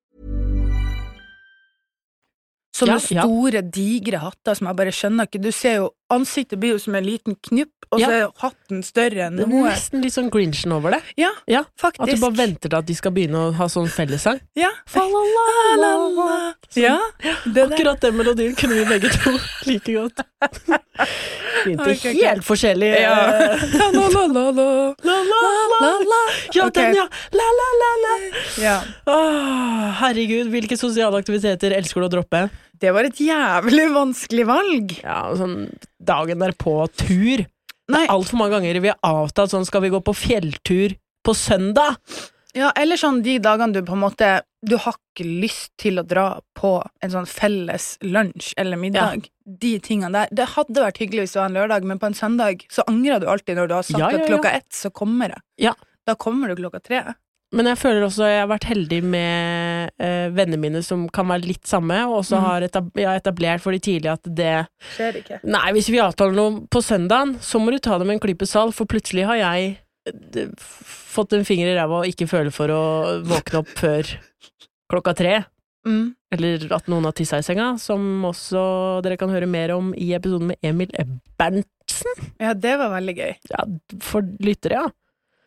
C: Sånne
B: Ja, ja.
C: store, digre hatter som jeg bare skjønner ikke. Du ser jo, ansiktet blir jo som en liten knupp, og
B: Ja.
C: så er jo hatten større enn
B: Det er
C: noe.
B: nesten litt sånn Grinchen over det.
C: Ja,
B: Ja,
C: faktisk.
B: At du bare venter til at de skal begynne å ha sånn fellessang.
C: Ja.
B: Fa-la-la-la-la.
C: Ja, det der.
B: Sånn. Akkurat den melodien kunne vi begge to *laughs* like godt. Begynte
C: Ok, ok.
B: helt forskjellig. *laughs*
C: Ja.
B: eh,
C: La-la-la-la.
B: La-la-la-la. Ja,
C: Ok.
B: den, ja. La-la-la-la.
C: Ja.
B: Åh, herregud, hvilke sosiale aktiviteter elsker du å droppe?
C: Det var et jævlig vanskelig valg.
B: Ja, sånn dagen derpå tur.
C: Nei,
B: Altfor mange ganger vi har avtalt sånn, skal vi gå på fjelltur på søndag?
C: ja, eller sånn de dagene du på en måte Du har ikke lyst til å dra på en sånn felles lunsj eller middag. De tingene der. Det hadde vært hyggelig hvis det var en lørdag, men på en søndag så angrer du alltid når du har sagt
B: Ja, ja,
C: at
B: ja.
C: klokka ett så kommer jeg.
B: Ja.
C: Da kommer du klokka tre.
B: Men jeg føler også jeg har vært heldig med eh, vennene mine som kan være litt samme, og også har etab jeg har etablert for de tidlig at det
C: Skjer ikke.
B: Nei, hvis vi avtaler noe på søndagen, så må du ta det med en klype salt, for plutselig har jeg eh, d- f- fått en finger i ræva og ikke føler for å våkne opp før klokka tre.
C: Mm.
B: Eller at noen har tissa i senga, som også dere kan høre mer om i episoden med Emil Berntsen.
C: Ja, det var veldig gøy.
B: Ja, for lyttere, ja.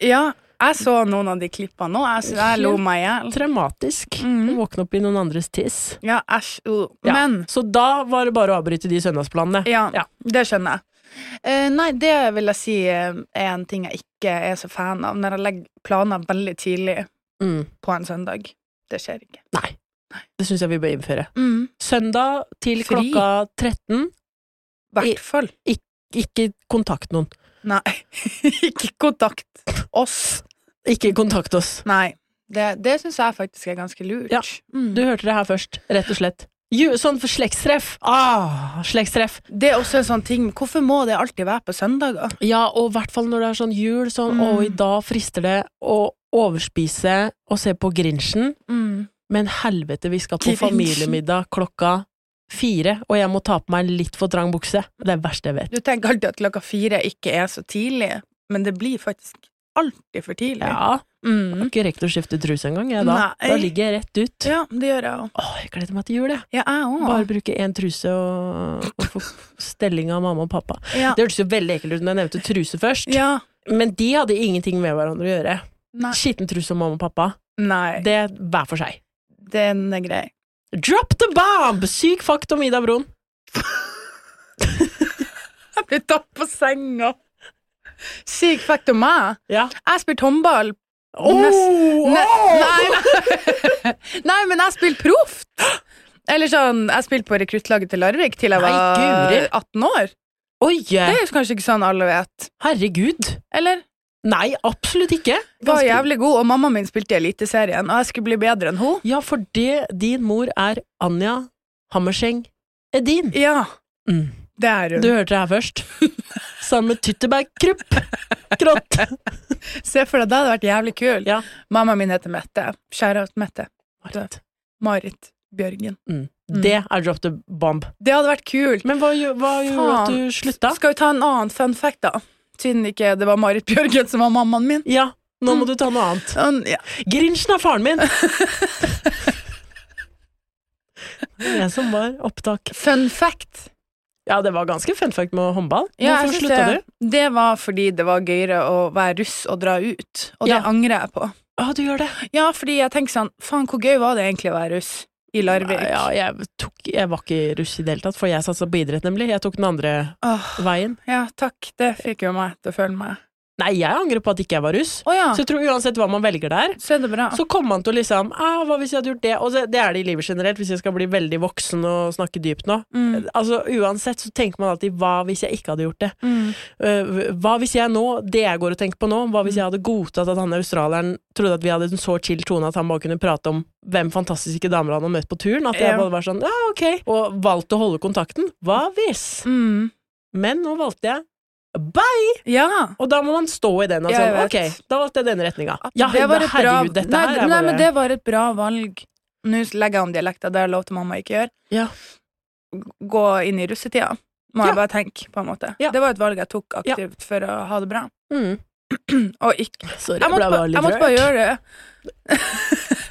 C: Ja, jeg så noen av de klippene nå. Jeg, jeg lo meg i hjel.
B: Traumatisk.
C: Mhm.
B: Å Våkne opp i noen andres tiss.
C: Ja, æsj. Uh.
B: Ja.
C: Men
B: Så da var det bare å avbryte de søndagsplanene.
C: ja,
B: Ja.
C: det skjønner jeg. Eh, nei, det vil jeg si eh, er en ting jeg ikke er så fan av, når jeg legger planer veldig tidlig
B: Mm.
C: på en søndag. Det skjer ikke.
B: Nei. Det syns jeg vi bør innføre.
C: Mm.
B: Søndag til
C: Fri.
B: klokka 13. I-
C: Hvert fall.
B: Ikke kontakt noen.
C: Nei. *laughs* ikke kontakt oss.
B: Ikke kontakt oss.
C: Nei. Det, det syns jeg faktisk er ganske lurt.
B: Ja.
C: Mm.
B: Du hørte det her først, rett og slett. Ju, sånn for slektstreff. Ah, slektstreff.
C: Det er også en sånn ting Hvorfor må det alltid være på søndager?
B: Ja, og i hvert fall når det er sånn jul, sånn
C: Mm.
B: å, i dag frister det å overspise og se på Grinchen,
C: Mm.
B: men helvete, vi skal på
C: Grinchen.
B: familiemiddag klokka fire, og jeg må ta på meg en litt for trang bukse. Det er det verste jeg vet.
C: Du tenker alltid at klokka fire ikke er så tidlig, men det blir faktisk alltid for tidlig.
B: Ja, jeg har
C: Mm.
B: ikke rekt å skifte truse engang, jeg da.
C: Nei.
B: Da ligger jeg rett ut.
C: ja det gjør jeg òg.
B: Åh, jeg gleder meg til jul, jeg.
C: Ja, jeg òg.
B: Bare bruke én truse og, og få stelling av mamma og pappa.
C: Ja.
B: Det hørtes jo veldig ekkelt ut når jeg nevnte truse først,
C: ja.
B: men de hadde ingenting med hverandre å gjøre.
C: Nei.
B: Skitten truse og mamma og pappa,
C: Nei.
B: det er hver for seg.
C: Den er grei.
B: Drop the bomb! Syk fakt om Ida Broen.
C: Jeg blir tatt på senga. Syk fact om meg.
B: Ja.
C: Jeg spilte håndball.
B: Oh, Åh,
C: ne
B: åh!
C: nei, nei, *laughs* men jeg spilte proft. Eller sånn, jeg spilte på rekruttlaget til Larvik til jeg
B: Nei,
C: var
B: guri.
C: 18 år.
B: Oi!
C: Det er jo kanskje ikke sånn alle vet.
B: Herregud.
C: Eller?
B: Nei, absolutt ikke.
C: Var
B: Ganske-
C: jævlig god, og mammaen min spilte i Eliteserien, og jeg skulle bli bedre enn hun.
B: Ja, for det, din mor er Anja Hammerseng Edin.
C: Ja,
B: Mm.
C: det er hun.
B: Du hørte det her først. Sammen med Tyttebærkrupp. Grått.
C: Se for deg, det hadde vært jævlig kul.
B: Ja.
C: Mammaen min heter Mette. Skjæra ut Mette.
B: Marit.
C: Marit Bjørgen.
B: Mm. Det er drop the bomb.
C: Det hadde vært kult.
B: Men hva, gjø- hva gjorde at du slutta?
C: Skal vi ta en annen fun fact, da? Siden ikke det var Marit Bjørgen som var mammaen min.
B: Ja, nå må du ta noe annet.
C: Sånn, ja.
B: Grinchen er faren min! Det er Jeg som var opptak.
C: Fun fact.
B: Ja, det var ganske fun fact med håndball.
C: Ja, jeg
B: Hvorfor
C: synes
B: slutta
C: det,
B: du?
C: Det var fordi det var gøyere å være russ og dra ut, og det
B: Ja.
C: angrer jeg på.
B: Å, du gjør det.
C: Ja, fordi jeg tenker sånn, faen, hvor gøy var det egentlig å være russ i Larvik?
B: Ja, jeg, tok, jeg var ikke russ i det hele tatt, for jeg satsa på idrett, nemlig. Jeg tok den andre
C: Åh,
B: veien.
C: ja, takk, det fikk jo meg til å føle meg.
B: Nei, jeg angrer på at ikke jeg var russ.
C: Å ja,
B: Så jeg tror uansett hva man velger der,
C: så er det bra.
B: så kommer man til å liksom ah, Hva hvis jeg hadde gjort det? Og det, det er det i livet generelt, hvis jeg skal bli veldig voksen og snakke dypt nå.
C: Mm.
B: Altså Uansett så tenker man alltid 'hva hvis jeg ikke hadde gjort det'?
C: Mm.
B: Eh, hva hvis jeg nå, det jeg går og tenker på nå, hva hvis jeg hadde godtatt at han australieren trodde at vi hadde en så chill tone at han bare kunne prate om hvem fantastiske damer han hadde møtt på turen? At jeg
C: Ja.
B: bare var sånn ja, ok, og valgte å holde kontakten? Hva hvis?
C: Mm.
B: Men nå valgte jeg Bye!
C: Ja.
B: Og da må man stå i den. Altså,
C: Jeg vet.
B: ok, da valgte jeg denne retninga. Ja,
C: det var et bra,
B: herregud, dette
C: nei,
B: her er
C: nei,
B: bare
C: men det var et bra valg. Nå legger jeg om dialekta, det har jeg lov til mamma ikke gjør.
B: Ja.
C: Gå inn i russetida, må
B: Ja.
C: jeg bare tenke, på en måte.
B: Ja.
C: Det var et valg jeg tok aktivt for å ha det bra.
B: mm.
C: Og ikke
B: Sorry,
C: Jeg måtte,
B: ble
C: bare,
B: litt
C: jeg måtte bare
B: rørt.
C: gjøre
B: *laughs*
C: det.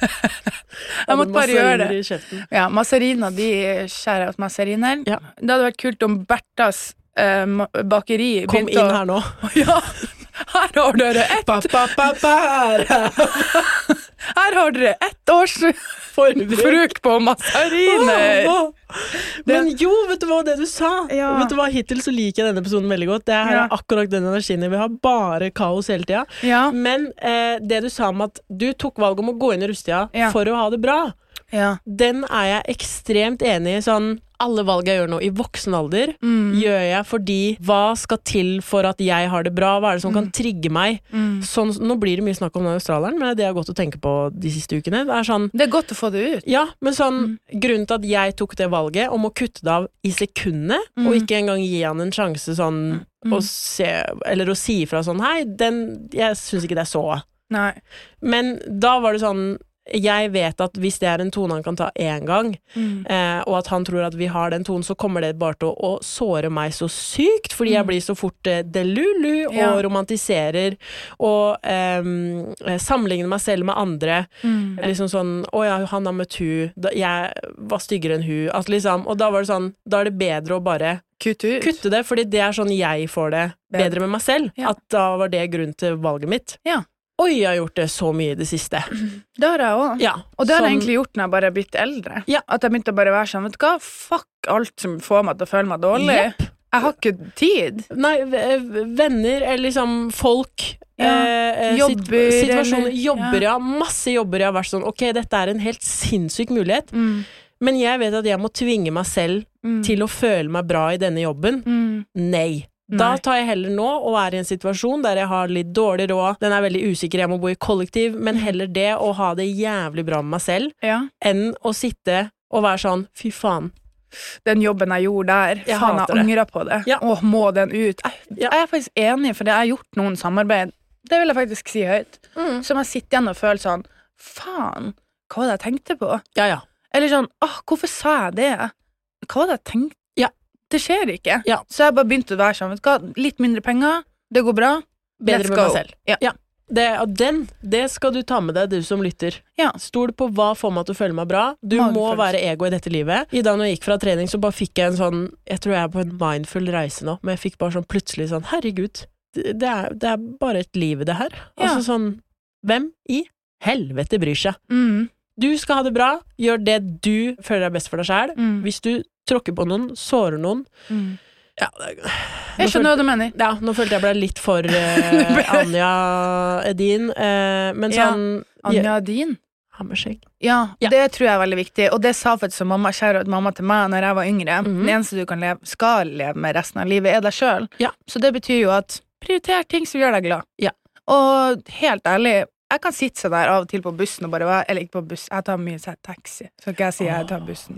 C: jeg måtte bare gjøre
B: Masseriner
C: det.
B: i kjeften.
C: Ja, Mazarina, de skjærer ut mazariner.
B: Ja.
C: Det hadde vært kult om Berthas eh, ma- bakeri
B: Kom
C: begynte
B: inn
C: å
B: her nå.
C: *laughs* Ja! Her har dere ett! *laughs* Her har dere ett års
B: Forbruk.
C: bruk på mazariner!
B: Åh, åh. Men jo, vet du hva, det du sa
C: Ja.
B: Vet du hva, Hittil så liker jeg denne episoden veldig godt. Det her
C: Ja.
B: er akkurat den energien jeg vil ha. Bare kaos hele tida.
C: Ja.
B: Men eh, det du sa om at du tok valget om å gå inn i russetida
C: Ja.
B: for å ha det bra,
C: Ja.
B: den er jeg ekstremt enig i. Sånn, alle valg jeg gjør nå i voksen alder, gjør jeg fordi hva skal til for at jeg har det bra? Hva er det som kan trigge meg? Sånn, nå blir det mye snakk om den australieren, men det er det jeg har gått og tenkt på de siste ukene. Det er sånn
C: Det er godt å få det ut.
B: ja, men sånn, grunnen til at jeg tok det valget om å kutte det av i sekundet, og ikke engang gi han en sjanse sånn å se, eller å si ifra sånn Hei, den Jeg syns ikke det er så
C: Nei.
B: Men da var det sånn jeg vet at hvis det er en tone han kan ta én gang,
C: Mm.
B: eh, og at han tror at vi har den tonen, så kommer det bare til å, å såre meg så sykt, fordi jeg blir så fort eh, delulu og
C: Mm. Ja.
B: romantiserer og ehm, eh, sammenligner meg selv med andre.
C: Mm.
B: Liksom sånn 'Å ja, han har møtt hun, da, jeg var styggere enn hun'. Altså liksom, og da var det sånn Da er det bedre å bare
C: Kutt ut.
B: kutte det, fordi det er sånn jeg får det
C: Bedre.
B: bedre med meg selv.
C: Ja.
B: At da var det grunnen til valget mitt.
C: Ja.
B: Oi, jeg har gjort det så mye i det siste.
C: Det har jeg òg.
B: Ja,
C: Og det har jeg
B: sånn-
C: egentlig gjort når jeg bare er blitt eldre.
B: Ja.
C: At jeg begynte å bare være sånn, vet du hva, fuck alt som får meg til å føle meg dårlig. Jeg har ikke tid.
B: Nei, v- v- venner eller liksom folk.
C: Ja,
B: eh, eh, sit-
C: jobber,
B: situasjoner,
C: eller-
B: jobber, ja. Masse jobber jeg har vært sånn Ok, dette er en helt sinnssyk mulighet, men jeg vet at jeg må tvinge meg selv til å føle meg bra i denne jobben. Mm. Nei. Da
C: Nei.
B: tar jeg heller nå og er i en situasjon der jeg har litt dårlig råd, den er veldig usikker, jeg må bo i kollektiv, men heller det å ha det jævlig bra med meg selv
C: Ja.
B: enn å sitte og være sånn fy faen.
C: Den jobben jeg gjorde der,
B: Jeg
C: faen,
B: hater
C: jeg
B: det.
C: angrer på det.
B: Ja.
C: Åh, må den ut? Jeg,
B: Ja.
C: jeg er faktisk enig, for jeg har gjort noen samarbeid, det vil jeg faktisk si høyt,
B: Mm.
C: som jeg sitter igjen og føler sånn, faen, hva var det jeg tenkte på?
B: Ja, ja.
C: Eller sånn, åh, hvorfor sa jeg det? Hva var det jeg tenkte?
B: Ja.
C: Det skjer ikke.
B: Ja.
C: Så jeg bare begynte å være sånn, vet du hva, litt mindre penger, det går bra.
B: Bedre
C: Let's
B: med
C: go.
B: meg selv.
C: Ja.
B: Ja. Det, og den, det skal du ta med deg, du som lytter.
C: Ja.
B: Stol på hva får meg til å føle meg bra. Du må
C: Magefølelse.
B: være ego i dette livet. I dag når jeg gikk fra trening, så bare fikk jeg en sånn Jeg tror jeg er på en mindful reise nå, men jeg fikk bare sånn plutselig sånn Herregud, det det er, det er bare et liv, det her.
C: Ja.
B: Altså sånn Hvem i helvete bryr seg?
C: Mm.
B: Du skal ha det bra, gjør det du føler er best for deg sjæl.
C: Mm.
B: Hvis du tråkker på noen, sårer noen ja, det- Nå
C: Jeg
B: føl-
C: skjønner hva du mener.
B: ja, nå følte jeg ble litt *laughs* for eh, Anja Edin, eh, men
C: Ja,
B: sånn
C: Anja din?
B: Hammerskjegg.
C: Ja,
B: Ja.
C: det tror jeg er veldig viktig, og det sa faktisk mamma, kjære mamma til meg når jeg var yngre.
B: Mhm.
C: Det eneste du kan leve, skal leve med resten av livet, er deg sjøl.
B: Ja.
C: Så det betyr jo at prioriter ting som gjør deg glad.
B: Ja.
C: Og helt ærlig, jeg kan sitte sånn der av og til på bussen og bare være Eller ikke på buss, jeg tar mye sånn taxi. Så ikke jeg si jeg tar bussen.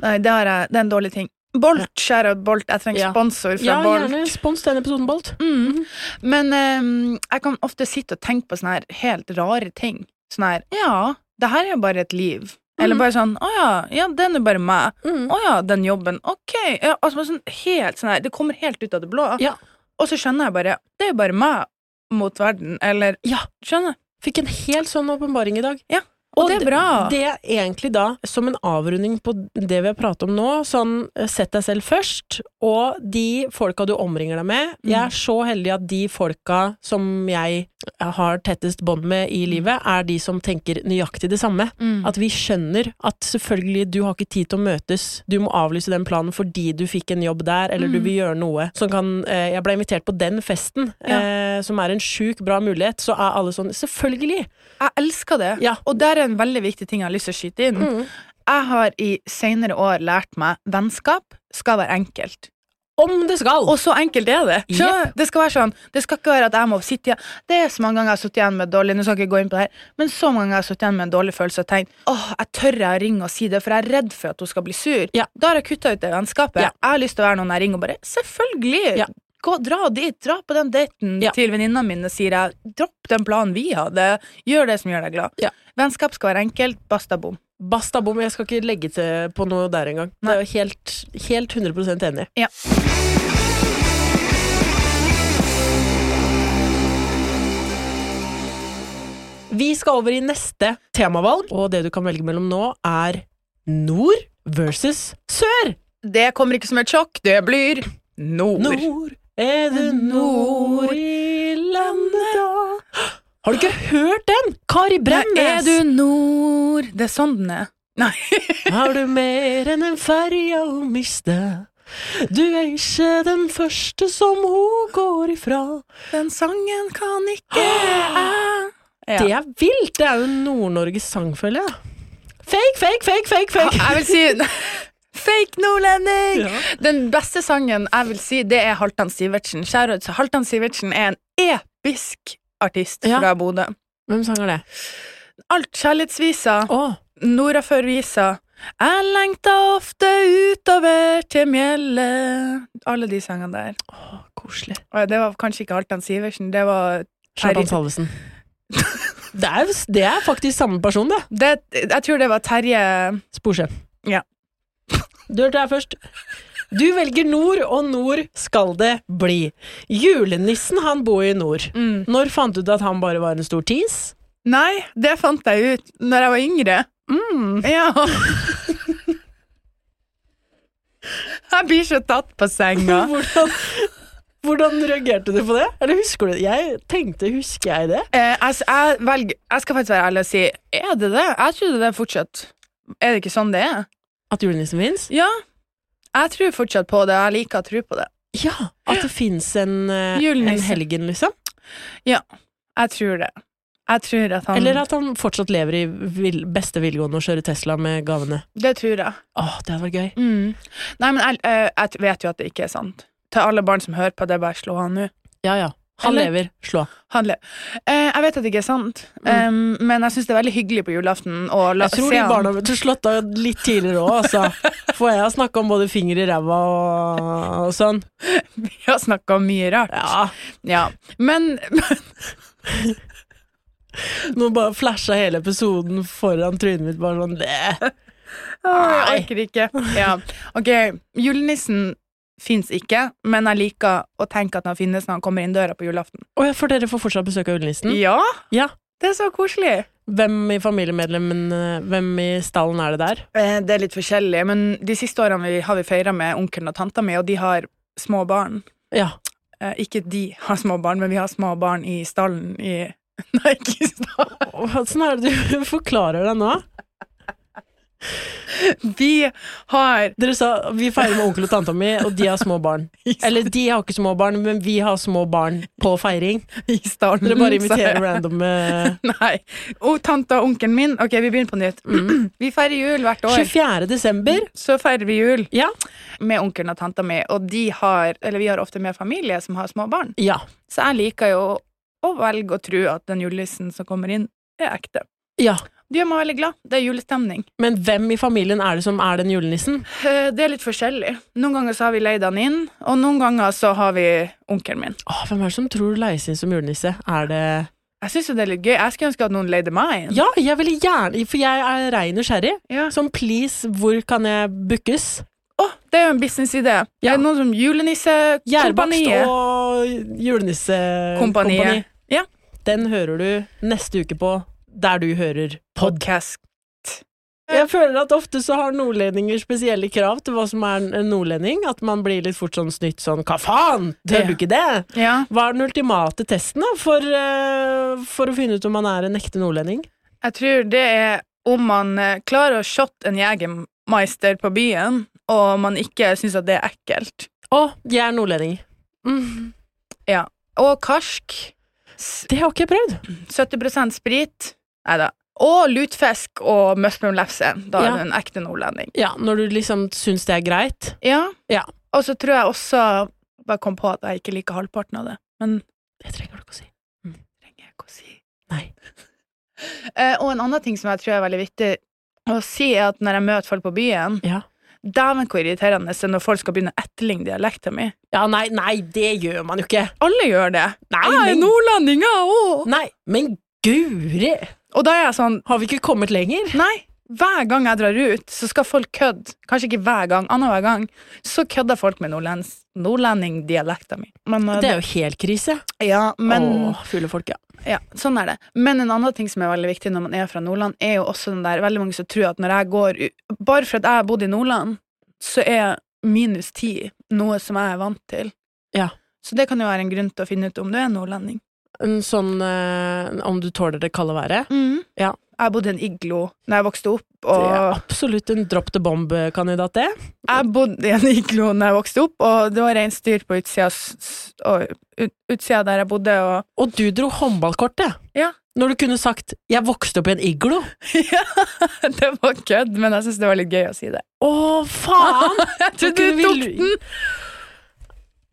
C: Nei, det, har jeg, det er en dårlig ting. Bolt, kjære Bolt, jeg trenger
B: Ja.
C: sponsor fra
B: Ja,
C: Bolt.
B: gjerne spons denne episoden, Bolt.
C: Mm. Men ehm, jeg kan ofte sitte og tenke på sånne her helt rare ting. Sånn her Ja, det her er jo bare et liv.
B: Mm.
C: Eller bare sånn Å ja, ja, den er bare meg. Å ja, den jobben. Ok. Ja, altså sånn helt sånn her Det kommer helt ut av det blå.
B: Ja.
C: Og så skjønner jeg bare Det er jo bare meg mot verden. Eller
B: Ja.
C: Skjønner?
B: Fikk en helt sånn åpenbaring i dag.
C: Ja. Og, det er bra.
B: Det er egentlig da, som en avrunding på det vi har pratet om nå, sånn eh, sett deg selv først, og de folka du omringer deg
C: Mm.
B: med. Jeg er så heldig at de folka som jeg eh, har tettest bånd med i
C: Mm.
B: livet, er de som tenker nøyaktig det samme. At vi skjønner at selvfølgelig du har ikke tid til å møtes, du må avlyse den planen fordi du fikk en jobb der, eller
C: Mm.
B: du vil gjøre noe som kan eh, Jeg ble invitert på den festen,
C: Ja.
B: eh, som er en sjukt bra mulighet, så er alle sånn Selvfølgelig!
C: Jeg elsker det,
B: Ja. Mm.
C: og der er en veldig viktig ting jeg har lyst til å skyte inn. Jeg har i senere år lært meg vennskap skal være enkelt.
B: Om det skal!
C: Og så enkelt er det. Skjønner du? Det skal være sånn Det skal ikke være at jeg må sitte igjen Det er så mange ganger jeg har sittet igjen med dårlig Nå skal jeg ikke gå inn på det her Men så mange ganger jeg har sittet igjen med en dårlig følelse og tenkt åh, jeg tør jeg å ringe og si det, for jeg er redd for at hun skal bli sur.
B: Ja.
C: Da har jeg kutta ut det vennskapet.
B: Ja.
C: Jeg har lyst til å være noen jeg ringer og bare Selvfølgelig!
B: Ja.
C: gå, dra dit, dra på den daten
B: Ja.
C: til venninna mine, sier jeg. Dropp den planen vi hadde. Gjør det som gjør deg glad.
B: Ja.
C: Vennskap skal være enkelt. Basta bom.
B: Basta bom, jeg skal ikke legge til på noe der engang. Det er jo helt, helt 100 enig.
C: Ja.
B: Vi skal over i neste temavalg, og det du kan velge mellom nå, er nord versus sør.
C: Det kommer ikke som et sjokk, det blir nord.
B: Nord er det nord i landet da Har du ikke hørt den? Kari
C: Nei, er
B: Bremnes!
C: du nord? Det er sånn den er. Nei.
B: Har du mer enn en ferja å miste? Du er ikke den første som hun går ifra.
C: *laughs* Den sangen kan
B: *gasps*
C: ikke jeg. Ja.
B: Det er vilt! Det er jo Nord-Norges sang, føler jeg. Fake, fake, fake, fake, fake!
C: *laughs* Jeg vil si
B: *laughs*
C: Fake nordlending! Den beste sangen jeg vil si, det er Halvdan Sivertsen. Shoutout til Halvdan Sivertsen er en episk artist
B: Ja.
C: fra Bodø.
B: Hvem sang er det?
C: Alt kjærlighetsvisa,
B: Å,
C: nordaførvisa. Jeg lengta ofte utover til mjellet. Alle de sangene der.
B: koselig.
C: Og det var kanskje ikke Halvdan Sivertsen, det var
B: Kjartan
C: Terje.
B: Salvesen. *laughs* Det er, det er faktisk samme person, det.
C: Det, jeg tror det var Terje
B: Sporsem.
C: Ja.
B: Du hørte her først. Du velger nord, og nord skal det bli. Julenissen, han bor i nord. Når fant du ut at han bare var en stor tis?
C: Nei, det fant jeg ut når jeg var yngre. Ja. jeg blir så tatt på senga.
B: *laughs* Hvordan, hvordan reagerte du på det? Eller husker du det? Jeg tenkte, husker jeg det?
C: *laughs* Eh, altså, jeg, velger, jeg skal faktisk være ærlig og si er det det? Jeg trodde det fortsatt Er det ikke sånn det er?
B: At julenissen fins?
C: Ja. Jeg tror fortsatt på det. Jeg liker å tro på det.
B: Ja, at det fins en, eh, en
C: Julenissen.
B: helgen, liksom.
C: Ja, jeg tror det. Jeg tror at han
B: Eller at han fortsatt lever i vil, beste velgående og kjører Tesla med gavene.
C: Det tror jeg.
B: Åh, det hadde vært gøy.
C: Mm. Nei, men jeg, eh, jeg vet jo at det ikke er sant. Til alle barn som hører på det, bare slå han nå.
B: Ja, ja. Han
C: Eller-
B: lever. Slå av.
C: Han le- Eh, jeg vet at det ikke er sant, eh, men jeg syns det er veldig hyggelig på julaften å la
B: Jeg tror
C: se
B: de
C: han. *laughs*
B: barna ble slått av litt tidligere òg, altså. For jeg har snakka om både finger i ræva og, og sånn.
C: Vi har snakka om mye rart.
B: Ja,
C: Ja. Men, *laughs*
B: Nå bare flasha hele episoden foran trynet mitt, bare sånn
C: *laughs*
B: det.
C: Åh, jeg
B: Nei.
C: orker ikke. Ja. Ok, julenissen fins ikke, men jeg liker å tenke at han finnes når han kommer inn døra på julaften.
B: Og jeg får dere får fortsatt besøk av julenissen.
C: Mm. Ja,
B: Ja.
C: det er så koselig.
B: Hvem i familiemedlemmen eh, Hvem i stallen er det der?
C: Eh, Det er litt forskjellig, men de siste årene vi, har vi feira med onkelen og tanta mi, og de har små barn.
B: Ja.
C: Eh, ikke de har små barn, men vi har små barn i stallen i *laughs* Nei, ikke i stallen.
B: Åssen er det du *laughs* forklarer deg nå?
C: Vi har
B: Dere sa vi feirer med onkel og tanta mi, og de har små barn. Eller de har *laughs* ikke små barn, men vi har små barn på feiring.
C: i stallen
B: Dere bare
C: Mm, så-
B: inviterer random *laughs* eh,
C: *laughs* Nei. Og tanta og onkelen min Ok, vi begynner på nytt.
B: Mm.
C: *clears throat* vi feirer jul hvert år.
B: 24. desember.
C: Så feirer vi jul.
B: Ja.
C: med onkelen og tanta mi, og de har, eller vi har ofte med familie som har små barn.
B: Ja.
C: Så jeg liker jo å velge å tro at den julenissen som kommer inn, er ekte.
B: ja.
C: Det gjør meg veldig glad. Det er julestemning.
B: Men hvem i familien er det som er den julenissen?
C: Eh, Det er litt forskjellig. Noen ganger så har vi leid han inn, og noen ganger så har vi onkelen min.
B: Åh, hvem er det som tror leies inn som julenisse? Er det
C: Jeg syns jo det er litt gøy. Jeg skulle ønske at noen leide meg inn.
B: Ja, jeg ville gjerne For jeg er rein nysgjerrig.
C: Ja.
B: Som please, hvor kan jeg bookes?
C: Å, det er jo en businessidé.
B: Ja.
C: Er det noen som
B: Gjærbakst
C: Julenissekompaniet?
B: og eh, julenissekompani.
C: Kompaniet. Ja.
B: Den hører du neste uke på der du hører pod.
C: Podcast.
B: Jeg føler at ofte så har nordlendinger spesielle krav til hva som er en nordlending. At man blir litt fort sånn snytt sånn 'hva faen, tør du ikke det?'
C: Ja.
B: Hva er den ultimate testen da, for, eh, for å finne ut om man er en ekte nordlending?
C: Jeg tror det er om man eh, klarer å shotte en jegermeister på byen, og man ikke syns at det er ekkelt.
B: Å, jeg er nordlending.
C: Mm. Ja. Og karsk. S-
B: Det har ikke jeg prøvd.
C: 70 sprit. Nei da. Og lutfisk og møsmumlefse. Da
B: Ja.
C: er du en ekte nordlending.
B: Ja, Når du liksom syns det er greit.
C: Ja.
B: Ja.
C: Og så tror jeg også Bare kom på at jeg ikke liker halvparten av det. Men
B: Det trenger du ikke å si.
C: trenger jeg ikke å si.
B: Nei.
C: Eh, og en annen ting som jeg tror er veldig viktig å si, er at når jeg møter folk på byen,
B: Ja.
C: Dæven, hvor irriterende det er når folk skal begynne å etterligne dialekten min.
B: Ja, nei, nei, det gjør man jo ikke.
C: Alle gjør det.
B: Nei,
C: jeg er
B: men-
C: nordlending, jeg òg!
B: Nei, men guri!
C: Og da er jeg sånn
B: Har vi ikke kommet lenger?
C: Nei, hver gang jeg drar ut, så skal folk kødde. Kanskje ikke hver gang, annenhver gang. Så kødder folk med nordlends, nordlendingdialekten min. Men, eh,
B: Det er jo helt krise.
C: ja, men
B: Åh, fulle folk, ja.
C: ja, sånn er det. Men en annen ting som er veldig viktig når man er fra Nordland, er jo også den der veldig mange som tror at når jeg går u- Bare for at jeg har bodd i Nordland, så er minus ti noe som jeg er vant til.
B: Ja.
C: Så det kan jo være en grunn til å finne ut om du er nordlending.
B: En sånn eh, om du tåler det kalde været. Ja.
C: Jeg bodde i en iglo når jeg vokste opp,
B: Det er
C: og
B: absolutt en drop the bomb-kandidat, det.
C: jeg bodde i en iglo når jeg vokste opp, og det var reinsdyr på utsida, s- s- og ut- utsida der jeg bodde, og *laughs*
B: Og du dro håndballkortet.
C: Ja.
B: Når du kunne sagt 'jeg vokste opp i en iglo'.
C: Ja, det var kødd, men jeg syns det var litt gøy å si det.
B: Å, *laughs* faen!
C: Jeg
B: Nå kunne
C: trodde du
B: vi
C: tok
B: lu-
C: den!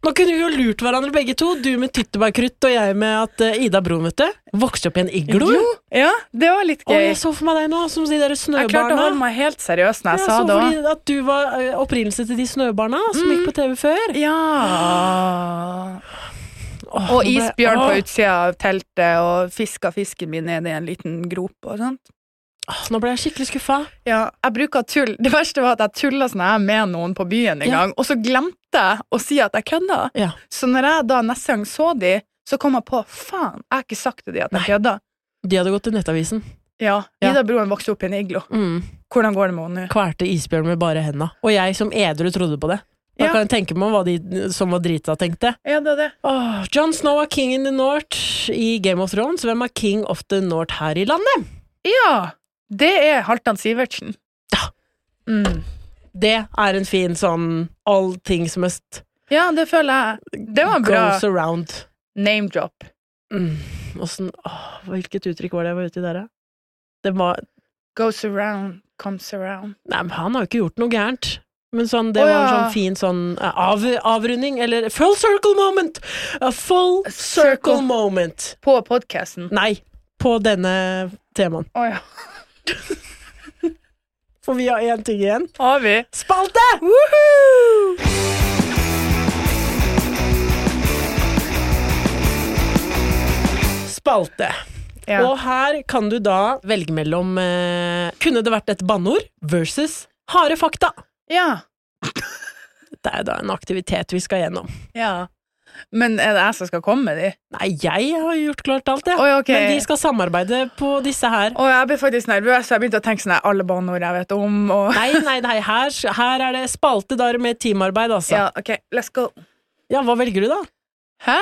B: Nå kunne vi jo lurt hverandre begge to. Du med tyttebærkrutt og jeg med at eh, Ida Broen, vet du, vokste opp i en iglo.
C: Jo, ja, det var litt
B: Og
C: gøy.
B: jeg så for meg deg nå, som de der snøbarna.
C: Jeg klarte å holde meg helt seriøs når jeg
B: Ja,
C: sa
B: så
C: det òg.
B: fordi at du var eh, opprinnelse til de snøbarna som gikk
C: Mm.
B: på TV før.
C: Ja
B: Åh, nå
C: Og
B: ble-
C: isbjørn på
B: åh,
C: utsida av teltet, og fiska fisken min ned i en liten grop og sånt.
B: åh, Nå ble jeg skikkelig skuffa.
C: Ja, jeg bruker tull. Det verste var at jeg tulla sånn her med noen på byen en
B: Ja.
C: gang, og så glemte jeg å si at jeg kødda.
B: Ja.
C: Så når jeg da neste gang så de, så kom jeg på faen, jeg har ikke sagt til de at jeg kødda.
B: De hadde gått til Nettavisen.
C: Ja,
B: Ja.
C: Ida Broen vokste opp i en iglo.
B: Mm.
C: Hvordan går det med henne nå?
B: Kvalte isbjørn med bare henda. Og jeg som edru trodde på det. Da
C: Ja.
B: kan jeg tenke meg hva de som var drita, tenkte.
C: Ja, det er det.
B: Åh, John Snow er king in the North i Game of Thrones. Hvem er king of the North her i landet?
C: Ja, det er Halvdan Sivertsen.
B: Ja.
C: Mm.
B: Det er en fin sånn all things must
C: Ja, det føler jeg. Det var en bra
B: goes around.
C: name drop.
B: Mm. Åssen åh, Hvilket uttrykk var det jeg var ute i der, da? Det var
C: Goes around, comes around.
B: Nei, men han har jo ikke gjort noe gærent. Men sånn, det
C: Å,
B: var en
C: ja.
B: sånn fin sånn eh, av, avrunding, eller full circle moment! A full circle
C: Circle.
B: moment.
C: På podkasten.
B: Nei, på denne temaen.
C: Å ja.
B: For vi har én ting igjen.
C: Har vi?
B: Spalte! Spalte.
C: Ja.
B: Og her kan du da velge mellom eh, Kunne det vært et banneord versus harde fakta?
C: ja.
B: Det er da en aktivitet vi skal gjennom.
C: Ja. Men er det jeg som skal komme med de?
B: Nei, jeg har gjort klart alt, jeg.
C: Oi, ok.
B: Men de skal samarbeide på disse her.
C: Og jeg ble faktisk nervøs, så jeg begynte å tenke sånn her, alle banneord jeg vet om, og
B: Nei, nei, nei. Her, her er det spalte der med teamarbeid, altså. Ja.
C: *laughs* Ja, OK, let's go.
B: hva velger du, da?
C: Hæ?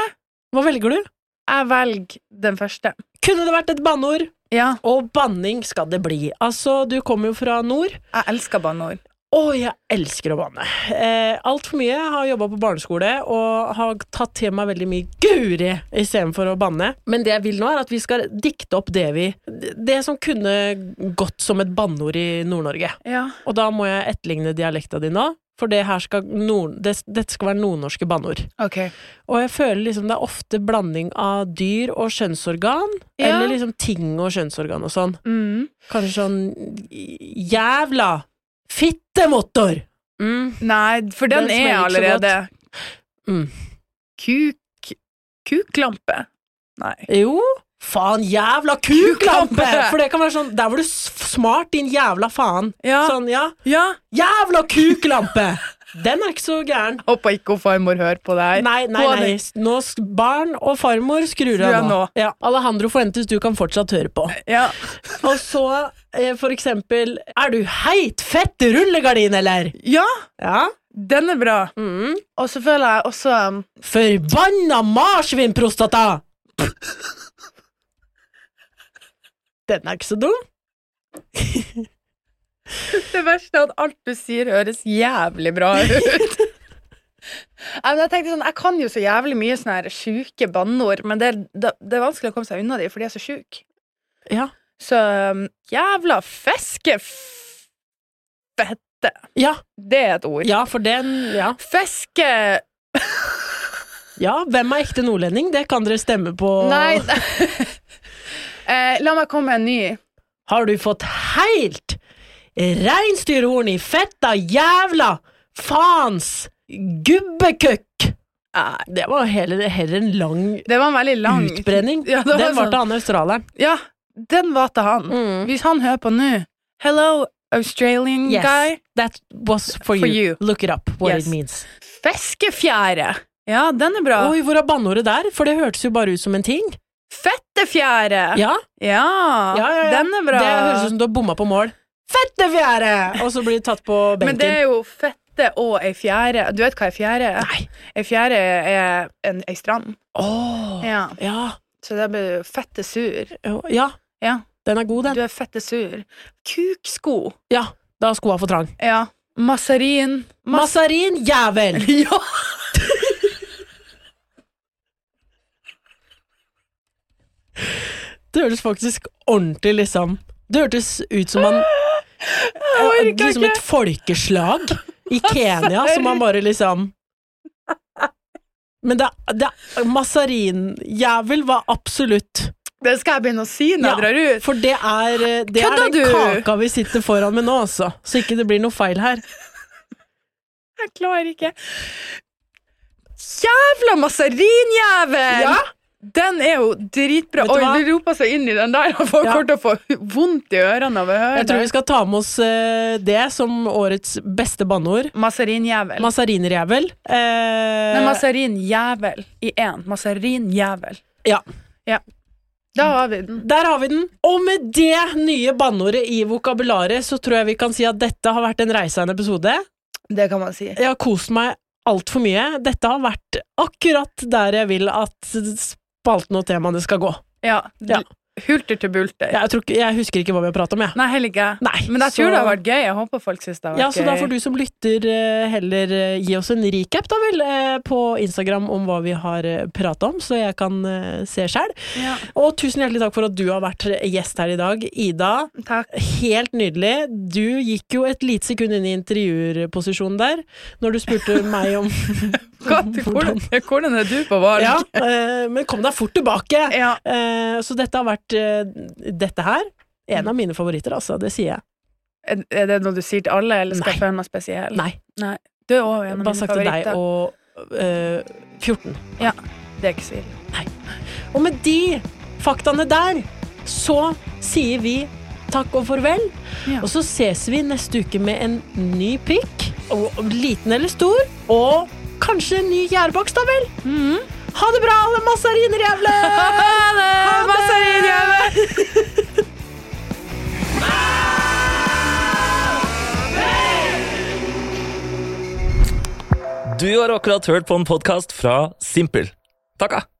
B: Hva velger du?
C: Jeg velger den første.
B: Kunne det vært et banneord?
C: Ja,
B: Og banning skal det bli. Altså, du kommer jo fra nord.
C: jeg elsker banneord.
B: Å, jeg elsker å banne. Eh, Altfor mye. Jeg har jobba på barneskole og har tatt til meg veldig mye guri istedenfor å banne. Men det jeg vil nå, er at vi skal dikte opp det vi Det som kunne gått som et banneord i Nord-Norge.
C: Ja.
B: Og da må jeg etterligne dialekta di nå, for det her skal nord, det, dette skal være nordnorske banneord.
C: OK.
B: Og jeg føler liksom det er ofte blanding av dyr og kjønnsorgan,
C: Ja.
B: eller liksom ting og kjønnsorgan og sånn.
C: Mm.
B: Kanskje sånn Jævla fittemotor! Mm.
C: Nei, for
B: Den
C: den, er
B: smeller ikke så
C: allerede
B: Mm.
C: Kuk... Kuklampe? Nei.
B: Jo. Faen, jævla kuklampe!
C: Kuklampe!
B: For det kan være sånn Der var du s- smart, din jævla faen.
C: Ja.
B: Sånn, ja.
C: Ja.
B: Jævla kuklampe! Den er ikke så gæren.
C: Håper ikke hun farmor hører på det her.
B: Nei, nei,
C: Gå
B: nei.
C: ned.
B: Nå sk- barn og farmor skrur
C: Skrur
B: av
C: av
B: nå.
C: nå.
B: Ja. Alejandro Fuentes, du kan fortsatt høre på.
C: Ja.
B: Og så eh, for eksempel Er du heit fett rullegardin, eller?
C: ja,
B: Ja.
C: den er bra.
B: Mm.
C: Og så føler jeg også um,
B: Forbanna marsvinprostata! Den er ikke så dum.
C: Det verste er at alt du sier, høres jævlig bra
B: *laughs*
C: ut. Nei, men Jeg tenkte sånn, jeg kan jo så jævlig mye sånne her sjuke banneord, men det er, det, det er vanskelig å komme seg unna dem, for de er så sjuke.
B: Ja.
C: Så um, jævla fiskefette
B: Ja,
C: Det er et ord.
B: ja for den ja.
C: Fiske...
B: ja, hvem er ekte nordlending? Det kan dere stemme på.
C: Nei *laughs* eh, La meg komme med en ny.
B: Har du fått heilt Reinsdyrhorn i fetta jævla faens gubbekøkk! Ja, det var heller, heller en lang
C: Det var en veldig lang
B: utbrenning.
C: Ja, det var
B: Den var
C: sånn-
B: til han australieren.
C: Ja, den var til han.
B: Mm.
C: Hvis han hører på nå Hello, Australian
B: Yes,
C: guy.
B: that was for,
C: For
B: you.
C: you.
B: Look it up, what
C: Yes.
B: it means.
C: Fiskefjære! Ja, den er bra.
B: Oi, hvor er banneordet der? For det hørtes jo bare ut som en ting.
C: Fettefjære!
B: Ja,
C: Ja,
B: ja, ja, ja.
C: den er bra.
B: Det høres ut som du har bomma på mål. Fette fjære! Og så blir du tatt på benken.
C: Men det er jo fette og ei fjære. Du vet hva ei fjære er?
B: Nei.
C: Ei fjære er en, ei strand.
B: Åh,
C: Ja.
B: ja.
C: Så da blir du fette sur.
B: jo, ja,
C: Ja,
B: den er god,
C: du
B: den.
C: er fette sur. Kuksko.
B: Ja, da er skoa for trang.
C: Ja. Masarin. Mas
B: Masarin, jævel!
C: *laughs* ja!
B: *laughs* Det hørtes faktisk ordentlig liksom Det hørtes ut som man
C: orker
B: Liksom
C: ikke.
B: et folkeslag
C: *laughs*
B: i Kenya som man bare liksom Men det, det Masarinjævel var absolutt
C: Det skal jeg begynne å si når
B: Ja,
C: jeg drar ut.
B: For det er eh, Det er
C: Kødda
B: den
C: du?
B: kaka vi sitter foran med nå, altså. Så ikke det blir noe feil her.
C: Jeg klarer ikke. Jævla masarinjævel!
B: Ja.
C: Den er jo dritbra.
B: Vet du
C: Oi,
B: hva?
C: du roper så inn i den der, og folk
B: Ja.
C: kommer til å få vondt i ørene av å høre
B: Jeg tror
C: det.
B: vi skal ta med oss eh, det som årets beste banneord.
C: Masarinjævel.
B: Masarinjævel. Eh,
C: Nei, masarinjævel i én. Masarinjævel.
B: ja.
C: Da har vi den.
B: Der har vi den! Og med det nye banneordet i vokabularet, så tror jeg vi kan si at dette har vært en reise av en episode.
C: Det kan man si.
B: Jeg har kost meg altfor mye. Dette har vært akkurat der jeg vil at spalten og temaene skal gå.
C: Ja.
B: Ja.
C: Hulter til bulter.
B: Jeg, tror, ikke- jeg husker ikke hva vi har pratet om, jeg.
C: Nei, heller ikke.
B: Nei,
C: Men jeg
B: så-
C: tror det har vært gøy. Jeg håper folk syns det har vært
B: Ja, så da
C: gøy.
B: får du som lytter eh, heller eh, gi oss en recap, da vel, eh, på Instagram om hva vi har prata om, så jeg kan eh, se sjæl.
C: Ja.
B: Og tusen hjertelig takk for at du har vært eh, gjest her i dag, Ida.
C: Takk.
B: Helt nydelig. Du gikk jo et lite sekund inn i intervjuerposisjonen der, når du spurte
C: *laughs*
B: meg om *laughs*
C: Katt, hvordan, hvordan er du på valg?
B: Ja, eh, men kom deg fort tilbake!
C: Ja.
B: Eh, Så dette har vært eh, Dette her. En av mine favoritter, altså. Det sier jeg.
C: Er er det noe du sier til alle, eller skal
B: Nei.
C: jeg føle meg spesiell?
B: Nei.
C: Nei. Du er også en av
B: Bare
C: mine
B: sagt til deg
C: favoritter.
B: og eh, 14.
C: Ja, det er ikke så ille.
B: Og med de faktaene der, så sier vi takk og farvel.
C: Ja.
B: Og så ses vi neste uke med en ny pikk. Og, og liten eller stor. Og kanskje en ny gjærbakst, da vel. Ha det bra, alle masarinjævler!
C: Ha det! Mazarin-jævel!
A: Du har akkurat hørt på en podkast fra Simpel. ah. Takka!